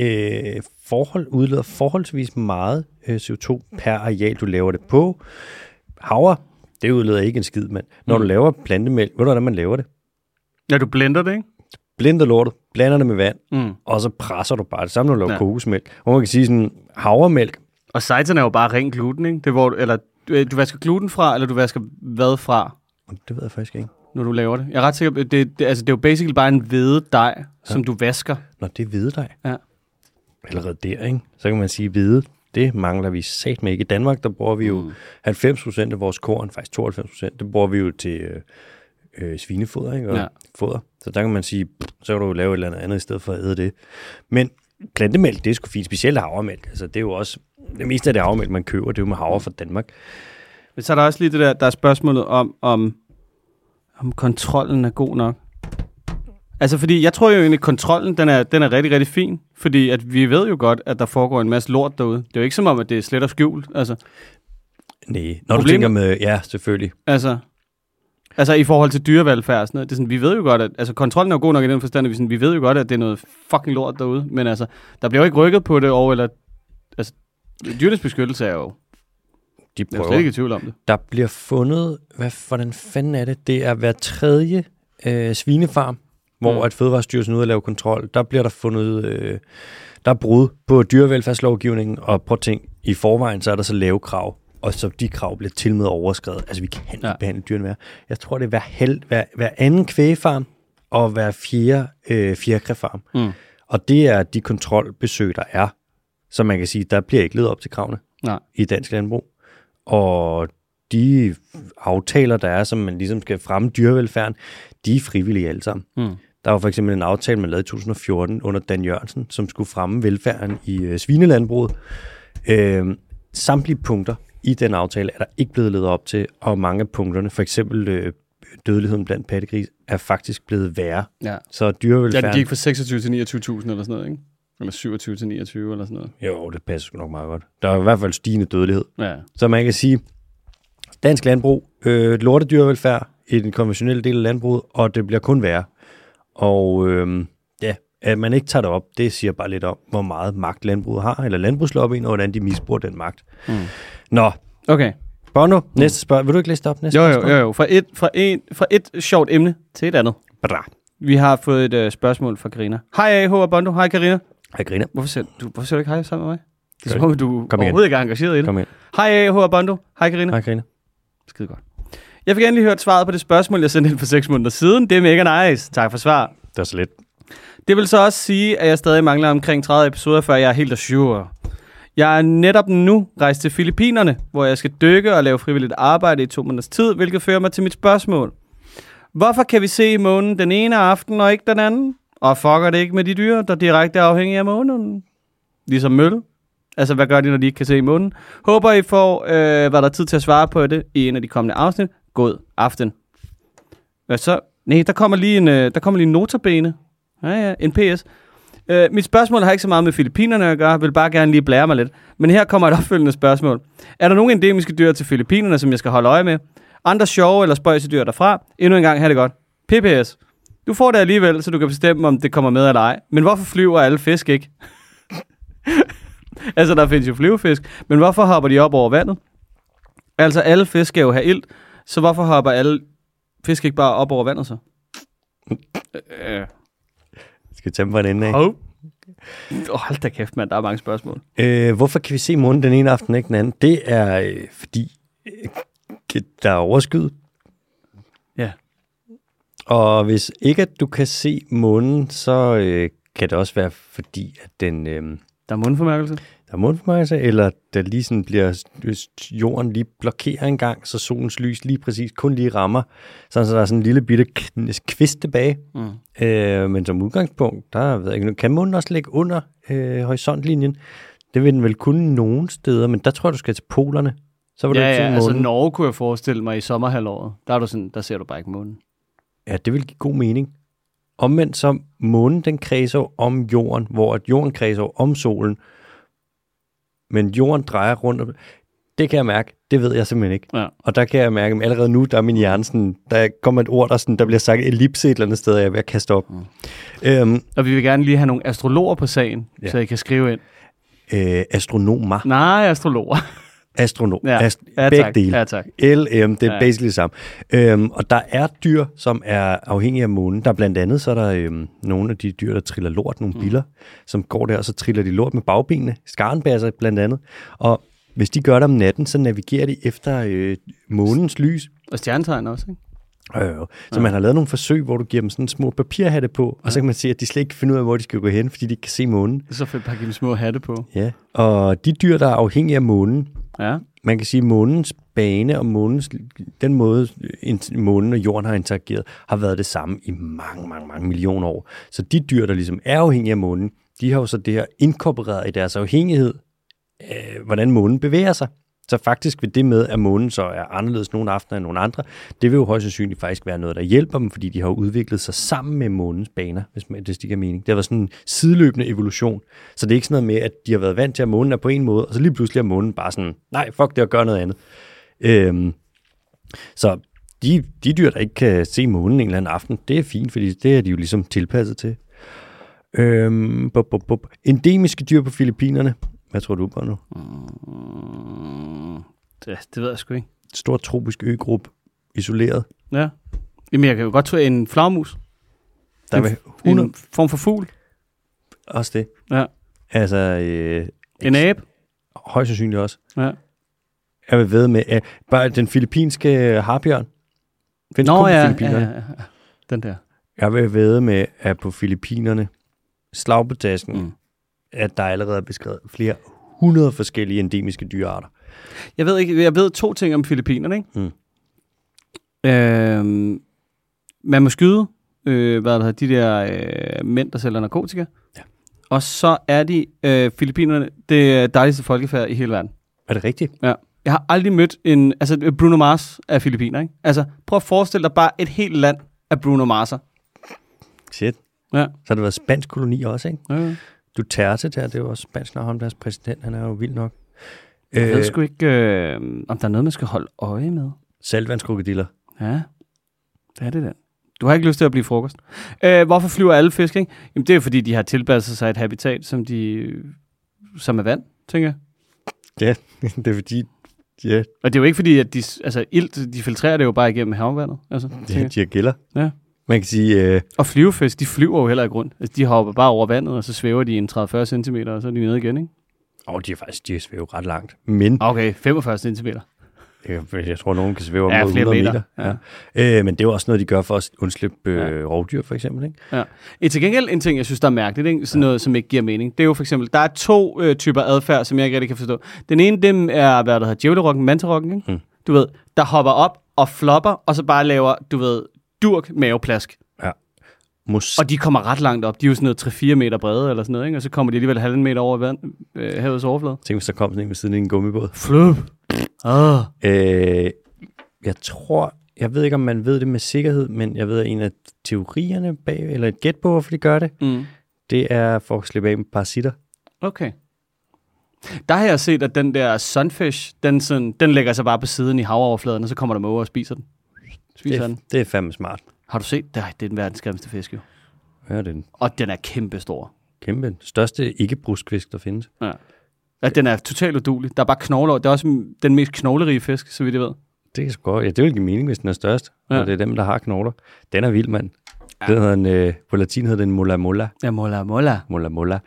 [SPEAKER 1] øh, forhold, udleder forholdsvis meget øh, CO2 per areal, du laver det på. Havre, det udleder ikke en skid, mand. Når du laver plantemælk, ved du, hvordan man laver det?
[SPEAKER 2] Ja, du blender det, ikke?
[SPEAKER 1] Blinder lortet, blander det med vand,
[SPEAKER 2] Mm.
[SPEAKER 1] og så presser du bare det samme, når du laver
[SPEAKER 2] Ja.
[SPEAKER 1] ja. kokosmælk. Hvor man kan sige sådan, havremælk,
[SPEAKER 2] Og seitan er jo bare ren gluten, ikke? Det er, hvor, du- eller øh, du, du vasker gluten fra, eller du vasker hvad fra,
[SPEAKER 1] det ved jeg faktisk ikke.
[SPEAKER 2] når du laver det. Jeg er ret sikker på, det, det, altså, det er jo basically bare en hvede dej, ja. som du vasker.
[SPEAKER 1] Nå, det er hvidedej.
[SPEAKER 2] Ja.
[SPEAKER 1] allerede der, ikke? så kan man sige, at hvide, det mangler vi sat med ikke. I Danmark, der bruger vi jo mm. 90% af vores korn, faktisk 92%, det bruger vi jo til øh, øh, svinefoder, ikke? Og
[SPEAKER 2] Ja.
[SPEAKER 1] ja. foder. Så der kan man sige, pff, så kan du jo lave et eller andet andet i stedet for at æde det. Men plantemælk, det er sgu fint, specielt havremælk. Altså, det er jo også, det meste af det havremælk, man køber, det er jo med havre fra Danmark.
[SPEAKER 2] Men så er der også lige det der, der er spørgsmålet om, om, om kontrollen er god nok. Altså fordi, jeg tror jo egentlig, at kontrollen den er, den er rigtig, rigtig fin. Fordi at vi ved jo godt, at der foregår en masse lort derude. Det er jo ikke som om, at det er slet og skjult. Altså,
[SPEAKER 1] Nej, når
[SPEAKER 2] Problemet-
[SPEAKER 1] du tænker med, ja, selvfølgelig.
[SPEAKER 2] altså, altså i forhold til dyrevelfærd og sådan noget. Det er sådan, vi ved jo godt, at altså, kontrollen er jo god nok i den forstand, at vi, sådan, vi ved jo godt, at det er noget fucking lort derude. Men altså, der bliver jo ikke rykket på det over, eller... Altså, dyrenes beskyttelse er jo...
[SPEAKER 1] De
[SPEAKER 2] Jeg er
[SPEAKER 1] prøver.
[SPEAKER 2] slet ikke i tvivl om det.
[SPEAKER 1] Der bliver fundet, hvad, hvordan fanden er det? Det er hver tredje øh, svinefarm, hvor
[SPEAKER 2] Mm.
[SPEAKER 1] mm. at Fødevarestyrelsen er ude og lave kontrol. Der bliver der fundet, øh, der er brud på dyrevelfærdslovgivningen, og prøv at tænk, i forvejen så er der så lave krav, og så de krav bliver til med overskrevet. Altså vi kan ikke
[SPEAKER 2] Ja.
[SPEAKER 1] ja. behandle dyrene mere. Jeg tror, det er hver, hel, hver, hver anden kvægefarm og hver fjerde øh, fjerkræfarm.
[SPEAKER 2] Mm.
[SPEAKER 1] Og det er de kontrolbesøg, der er. Så man kan sige, der bliver ikke levet op til kravene
[SPEAKER 2] Nej.
[SPEAKER 1] i dansk landbrug. Og de aftaler, der er, som man ligesom skal fremme dyrevelfærden, de er frivillige alle sammen.
[SPEAKER 2] Mm.
[SPEAKER 1] Der var for eksempel en aftale, man lavede i 2014 under Dan Jørgensen, som skulle fremme velfærden i øh, svinelandbruget. Øh, Øhm, samtlige punkter i den aftale er der ikke blevet ledet op til, og mange af punkterne, for eksempel øh, dødeligheden blandt pattegris, er faktisk blevet værre.
[SPEAKER 2] Ja.
[SPEAKER 1] Så
[SPEAKER 2] Ja,
[SPEAKER 1] dyrevelfærden...
[SPEAKER 2] det gik fra 26 til 29.000 eller sådan noget, ikke? Eller 27 til 29 eller sådan noget.
[SPEAKER 1] Jo, det passer sgu nok meget godt. Der er i hvert fald stigende dødelighed.
[SPEAKER 2] Ja.
[SPEAKER 1] Så man kan sige, dansk landbrug, øh, lortedyrevelfærd i den konventionelle del af landbruget, og det bliver kun værre. Og øh, ja, at man ikke tager det op, det siger bare lidt om, hvor meget magt landbruget har, eller landbrugslobbyen, og hvordan de misbruger den magt. Mm. Nå,
[SPEAKER 2] Okay.
[SPEAKER 1] Bono, næste spørgsmål. Vil du ikke læse det op næste
[SPEAKER 2] Jo, jo,
[SPEAKER 1] spørgsmål?
[SPEAKER 2] jo, jo. Fra et, fra, et, fra et sjovt emne til et andet.
[SPEAKER 1] Bra.
[SPEAKER 2] Vi har fået et øh, spørgsmål fra Karina. Hej A.H. og Bondo. Hej Karina.
[SPEAKER 1] Jeg griner.
[SPEAKER 2] Hvorfor ser du, hvorfor ser du ikke hej sammen med mig? Det er
[SPEAKER 1] Gør
[SPEAKER 2] som om, du
[SPEAKER 1] Kom igen.
[SPEAKER 2] overhovedet ikke er engageret i det.
[SPEAKER 1] Kom ind.
[SPEAKER 2] Hej A.H. og Bondo. Hej Karina.
[SPEAKER 1] Hej, Grine.
[SPEAKER 2] Skide godt. Jeg fik endelig hørt svaret på det spørgsmål, jeg sendte ind for 6 måneder siden. Det er mega nice. Tak for svar.
[SPEAKER 1] Det er så lidt.
[SPEAKER 2] Det vil så også sige, at jeg stadig mangler omkring 30 episoder, før jeg er helt sure. Jeg er netop nu rejst til Filippinerne, hvor jeg skal dykke og lave frivilligt arbejde i to måneders tid, hvilket fører mig til mit spørgsmål. Hvorfor kan vi se månen den ene aften og ikke den anden? Og fucker det ikke med de dyr, der direkte er afhængige af månen? Ligesom møl. Altså, hvad gør de, når de ikke kan se månen? Håber, I får, øh, hvad der er tid til at svare på det i en af de kommende afsnit. God aften. Hvad så? Nej, der kommer lige en, øh, der kommer lige en notabene. Ja, ja, en PS. Øh, mit spørgsmål har ikke så meget med Filippinerne at gøre, vil bare gerne lige blære mig lidt. Men her kommer et opfølgende spørgsmål. Er der nogen endemiske dyr til Filippinerne, som jeg skal holde øje med? Andre sjove eller spøjse dyr derfra? Endnu en gang, have det godt. PPS. Du får det alligevel, så du kan bestemme, om det kommer med eller ej. Men hvorfor flyver alle fisk ikke? [LAUGHS] altså, der findes jo flyvefisk, men hvorfor hopper de op over vandet? Altså, alle fisk skal jo have ilt, så hvorfor hopper alle fisk ikke bare op over vandet så? Øh.
[SPEAKER 1] Skal vi tage dem fra en ende af?
[SPEAKER 2] Hov. [CLEARS THROAT] Oh, hold da kæft, mand. Der er mange spørgsmål.
[SPEAKER 1] Øh, hvorfor kan vi se månen den ene aften og ikke den anden? Det er øh, fordi, øh, der er overskyet.
[SPEAKER 2] Ja.
[SPEAKER 1] Og hvis ikke at du kan se månen, så øh, kan det også være fordi, at den, øh,
[SPEAKER 2] Der er mundformærkelse.
[SPEAKER 1] der er måneformørkelse, altså, eller der lige sådan bliver s- jorden lige blokerer en gang, så solens lys lige præcis kun lige rammer, sådan så der er sådan en lille bitte kn- kvist tilbage.
[SPEAKER 2] Mm.
[SPEAKER 1] Øh, men som udgangspunkt, der ved jeg ikke, nu kan månen også ligge under øh, horisontlinjen. Det vil den vel kunne nogen steder, men der tror jeg, du skal til polerne. Så vil du
[SPEAKER 2] Ja,
[SPEAKER 1] ikke se
[SPEAKER 2] ja, altså
[SPEAKER 1] månen.
[SPEAKER 2] Norge kunne jeg forestille mig i sommerhalvåret. Der, er du sådan, der ser du bare ikke månen.
[SPEAKER 1] Ja, det vil give god mening. Omvendt så månen, den kredser jo om jorden, hvor at jorden kredser jo om solen. Men jorden drejer rundt om... Det kan jeg mærke, det ved jeg simpelthen ikke.
[SPEAKER 2] Ja.
[SPEAKER 1] Og der kan jeg mærke, at allerede nu, der er min hjerne sådan, der kommer et ord, der, sådan, der bliver sagt ellipse et eller andet sted, og jeg er ved at kaste op. Mm. Øhm,
[SPEAKER 2] Og vi vil gerne lige have nogle astrologer på sagen, ja.
[SPEAKER 1] Ja.
[SPEAKER 2] så I kan skrive ind.
[SPEAKER 1] øh, astronomer,
[SPEAKER 2] Nej, astrologer.
[SPEAKER 1] astronom,
[SPEAKER 2] Ja,
[SPEAKER 1] ja. Ast-
[SPEAKER 2] ja
[SPEAKER 1] begge
[SPEAKER 2] tak.
[SPEAKER 1] dele.
[SPEAKER 2] Ja, tak.
[SPEAKER 1] LM, det er
[SPEAKER 2] Ja.
[SPEAKER 1] ja. basically det samme. Øhm, og der er dyr, som er afhængige af månen. Der er blandt andet, så er der øhm, nogle af de dyr, der triller lort,
[SPEAKER 2] Mm.
[SPEAKER 1] nogle biller, som går der, og så triller de lort med bagbenene. Skarnbasser blandt andet. Og hvis de gør det om natten, så navigerer de efter øh, månens lys.
[SPEAKER 2] [LAUGHS] Og stjernetegn også, ikke?
[SPEAKER 1] Øh, så man har lavet nogle forsøg, hvor du giver dem sådan små papirhatte på, og så kan man se, at de slet ikke kan finde ud af, hvor de skal gå hen, fordi de ikke kan se månen.
[SPEAKER 2] Så får jeg bare give dem små hatte på.
[SPEAKER 1] Ja. Og de dyr, der er afhængige af månen,
[SPEAKER 2] Ja.
[SPEAKER 1] man kan sige, at månens bane og månens, den måde, int- månen og jorden har interageret, har været det samme i mange, mange, mange millioner år. Så de dyr, der ligesom er afhængige af månen, de har jo så det her inkorporeret i deres afhængighed, øh, hvordan månen bevæger sig. Så faktisk ved det med, at månen så er anderledes nogle aftener end nogle andre, det vil jo højst sandsynligt faktisk være noget, der hjælper dem, fordi de har jo udviklet sig sammen med månens baner, hvis man, det stikker mening. Det har været sådan en sideløbende evolution. Så det er ikke sådan noget med, at de har været vant til, at månen er på en måde, og så lige pludselig er månen bare sådan, nej, fuck det, og gør noget andet. Øhm, så de, de dyr, der ikke kan se månen en eller anden aften, det er fint, fordi det er de jo ligesom tilpasset til. Øhm, bup, bup, bup. Endemiske dyr på Filippinerne. Hvad tror du på nu?
[SPEAKER 2] Mm, det, det ved jeg sgu ikke.
[SPEAKER 1] stor tropisk øgruppe, isoleret.
[SPEAKER 2] Ja. Jamen, jeg kan jo godt tro, en flagmus.
[SPEAKER 1] Der
[SPEAKER 2] En-
[SPEAKER 1] er 100...
[SPEAKER 2] En form for fugl.
[SPEAKER 1] Også det.
[SPEAKER 2] Ja.
[SPEAKER 1] Altså, øh,
[SPEAKER 2] En abe.
[SPEAKER 1] højst sandsynligt også.
[SPEAKER 2] Ja.
[SPEAKER 1] Jeg vil ved med, øh, bare den filippinske harbjørn. Findes
[SPEAKER 2] Nå,
[SPEAKER 1] kun på
[SPEAKER 2] ja, ja,
[SPEAKER 1] Filippinerne.
[SPEAKER 2] ja, ja. Den der.
[SPEAKER 1] Jeg vil ved med, at på Filippinerne, slagbetasken,
[SPEAKER 2] Mm.
[SPEAKER 1] mm. at der allerede er beskrevet flere hundrede forskellige endemiske dyrearter.
[SPEAKER 2] Jeg ved, ikke, jeg ved to ting om Filippinerne, ikke?
[SPEAKER 1] Mm.
[SPEAKER 2] Øhm, man må skyde, øh, hvad der hedder, de der øh, mænd, der sælger narkotika.
[SPEAKER 1] Ja.
[SPEAKER 2] Og så er de, øh, Filippinerne, det dejligste folkefærd i hele verden.
[SPEAKER 1] Er det rigtigt?
[SPEAKER 2] Ja. Jeg har aldrig mødt en... Altså, Bruno Mars er filipiner, ikke? Altså, prøv at forestille dig bare et helt land af Bruno Mars'er.
[SPEAKER 1] Shit.
[SPEAKER 2] Ja.
[SPEAKER 1] Så har det været spansk koloni også, ikke?
[SPEAKER 2] Øh.
[SPEAKER 1] Duterte der, det er jo også spansk, når ham deres præsident, han er jo vild nok.
[SPEAKER 2] Jeg ved
[SPEAKER 1] Øh,
[SPEAKER 2] sgu ikke, øh, om der er noget, man skal holde øje med.
[SPEAKER 1] saltvandskrokodiller.
[SPEAKER 2] Ja, det er det da. Du har ikke lyst til at blive frokost. Øh, hvorfor flyver alle fisk, ikke? Jamen, det er jo, fordi, de har tilpasset sig et habitat, som, de, øh, som er vand, tænker jeg.
[SPEAKER 1] Ja, [LAUGHS] det er fordi, ja,
[SPEAKER 2] Og det er jo ikke fordi, at de, s- altså, ilt, de filtrerer det jo bare igennem havvandet. Altså, tænker
[SPEAKER 1] de,
[SPEAKER 2] jeg.
[SPEAKER 1] de har gælder.
[SPEAKER 2] Ja.
[SPEAKER 1] Man kan sige, øh,
[SPEAKER 2] og flyvefisk, de flyver jo heller ikke rundt. Altså, de hopper bare over vandet, og så svæver de en 30-40 cm, og så er de nede igen, ikke?
[SPEAKER 1] åh, de er faktisk, de svæver ret langt. Men
[SPEAKER 2] Okay, 45 cm.
[SPEAKER 1] Øh, Jeg tror, nogen kan svæve op
[SPEAKER 2] Ja,
[SPEAKER 1] ja, mod
[SPEAKER 2] flere
[SPEAKER 1] 100 meter.
[SPEAKER 2] meter.
[SPEAKER 1] meter. Ja. Ja. Øh, men det er jo også noget, de gør for at undslippe øh,
[SPEAKER 2] Ja.
[SPEAKER 1] rovdyr, for eksempel. Ikke?
[SPEAKER 2] Ja. Et til gengæld en ting, jeg synes, der er mærkeligt, ikke? sådan noget, som ikke giver mening, det er jo for eksempel, der er to øh, typer adfærd, som jeg ikke rigtig kan forstå. Den ene, dem er, hvad der hedder, djævlerokken, mantarokken, ikke?
[SPEAKER 1] Mm.
[SPEAKER 2] Du ved, der hopper op og flopper, og så bare laver, du ved, durk maveplask.
[SPEAKER 1] Måske.
[SPEAKER 2] Og de kommer ret langt op. De er jo sådan noget 3-4 meter brede eller sådan noget, ikke? Og så kommer de alligevel halvanden meter over vand, øh, havets overflade.
[SPEAKER 1] Tænk, hvis der kom sådan en ved siden af en gummibåd.
[SPEAKER 2] Flup. Ah.
[SPEAKER 1] Øh, jeg tror, jeg ved ikke, om man ved det med sikkerhed, men jeg ved, at en af teorierne bag, eller et gæt på, hvorfor de gør det,
[SPEAKER 2] Mm.
[SPEAKER 1] det er for at slippe af med parasitter.
[SPEAKER 2] Okay. Der har jeg set, at den der sunfish, den, sådan, den lægger sig bare på siden i havoverfladen, og så kommer der måger og spiser den.
[SPEAKER 1] Det,
[SPEAKER 2] Spiser den.
[SPEAKER 1] er- det er fandme smart.
[SPEAKER 2] Har du set? Nej, det er den verdens grimmeste fisk, jo.
[SPEAKER 1] Ja, det er den
[SPEAKER 2] Og den er kæmpestor.
[SPEAKER 1] kæmpe, den største ikke-bruskfisk, der findes.
[SPEAKER 2] Ja. ja. den er totalt udulig. Der er bare knogler. Det er også mm, den mest knoglerige fisk, så vidt jeg ved.
[SPEAKER 1] Det kan sgu godt. Ja, det vil give mening, hvis den er størst. Ja.
[SPEAKER 2] Ja.
[SPEAKER 1] Og det er dem, der har knogler. Den er vild, mand. Ja. Den hedder en, øh, på latin hedder den mola mola.
[SPEAKER 2] Ja, mola, mola.
[SPEAKER 1] Mola mola.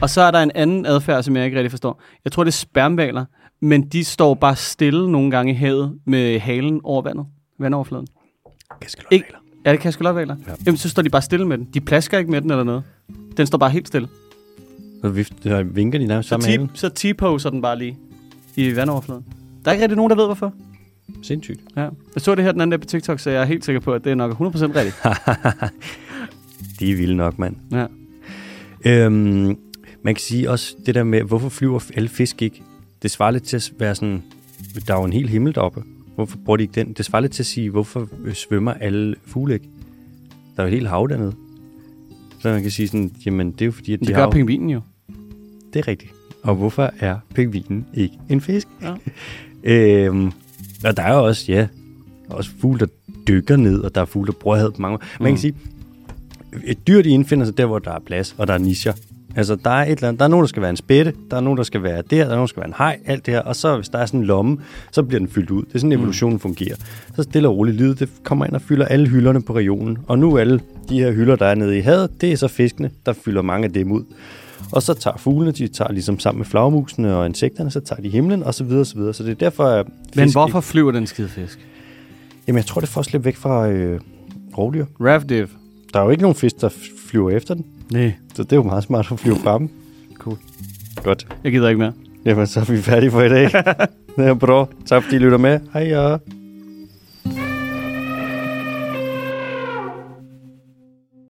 [SPEAKER 2] Og så er der en anden adfærd, som jeg ikke rigtig forstår. Jeg tror, det er spermvaler, men de står bare stille nogle gange i havet med halen over vandet. Vandoverfladen.
[SPEAKER 1] Kaskelotvaler.
[SPEAKER 2] Ikke? Ja, det kan jeg sgu godt valer. Ja. Jamen, så står de bare stille med den. De plasker ikke med den eller noget. Den står bare helt stille.
[SPEAKER 1] Så vift, så vinker de nærmest
[SPEAKER 2] Så,
[SPEAKER 1] sammen med halen.
[SPEAKER 2] t- så t-poser den bare lige i vandoverfladen. Der er ikke rigtig nogen, der ved, hvorfor.
[SPEAKER 1] Sindssygt. [LAUGHS]
[SPEAKER 2] Ja. Jeg så det her den anden dag på TikTok, så jeg er helt sikker på, at det er nok 100% rigtigt.
[SPEAKER 1] De er vilde nok, mand.
[SPEAKER 2] Ja.
[SPEAKER 1] Øhm, man kan sige også det der med, hvorfor flyver alle fisk ikke? Det svarer lidt til at være sådan, der er jo en hel himmel deroppe. Hvorfor bruger de ikke den? Det svarer lidt til at sige, hvorfor øh, svømmer alle fugle ikke? Der er jo et helt hav dernede. Så man kan sige sådan, jamen det er jo fordi, at de
[SPEAKER 2] Det
[SPEAKER 1] har
[SPEAKER 2] gør
[SPEAKER 1] jo-
[SPEAKER 2] pingvinen jo.
[SPEAKER 1] Det er rigtigt. Og hvorfor er pingvinen ikke en fisk?
[SPEAKER 2] Ja.
[SPEAKER 1] [LAUGHS] øhm, og der er jo også, ja, også fugle, der dykker ned, og der er fugle, der bruger havet på mange måder. Man kan
[SPEAKER 2] Mm.
[SPEAKER 1] sige, et dyr, de indfinder sig der, hvor der er plads, og der er nischer. Altså, der er, et eller andet, der er nogen, der skal være en spætte, der er nogen, der skal være der, der er nogen, der skal være en hej, alt det her. Og så, hvis der er sådan en lomme, så bliver den fyldt ud. Det er
[SPEAKER 2] Mm.
[SPEAKER 1] sådan, evolutionen fungerer. Så stille og roligt livet, det kommer ind og fylder alle hylderne på regionen. Og nu er alle de her hylder, der er nede i havet, det er så fiskene, der fylder mange af dem ud. Og så tager fuglene, de tager ligesom sammen med flagmusene og insekterne, så tager de himlen, og så videre, og så videre. Så det er derfor, at
[SPEAKER 2] Men
[SPEAKER 1] fisk
[SPEAKER 2] hvorfor flyver den skide fisk?
[SPEAKER 1] Ikke, jamen, jeg tror, det er for at slippe væk fra øh, rovdyr.
[SPEAKER 2] Ravdiv.
[SPEAKER 1] Der er jo ikke nogen fisk, der f- flyver efter den.
[SPEAKER 2] Nej.
[SPEAKER 1] Så det er jo meget smart at flyve fra dem. Cool. Godt.
[SPEAKER 2] Jeg gider ikke mere.
[SPEAKER 1] Jamen, så er vi færdige for i dag. det er bra. Tak fordi I lytter med. Hej ja.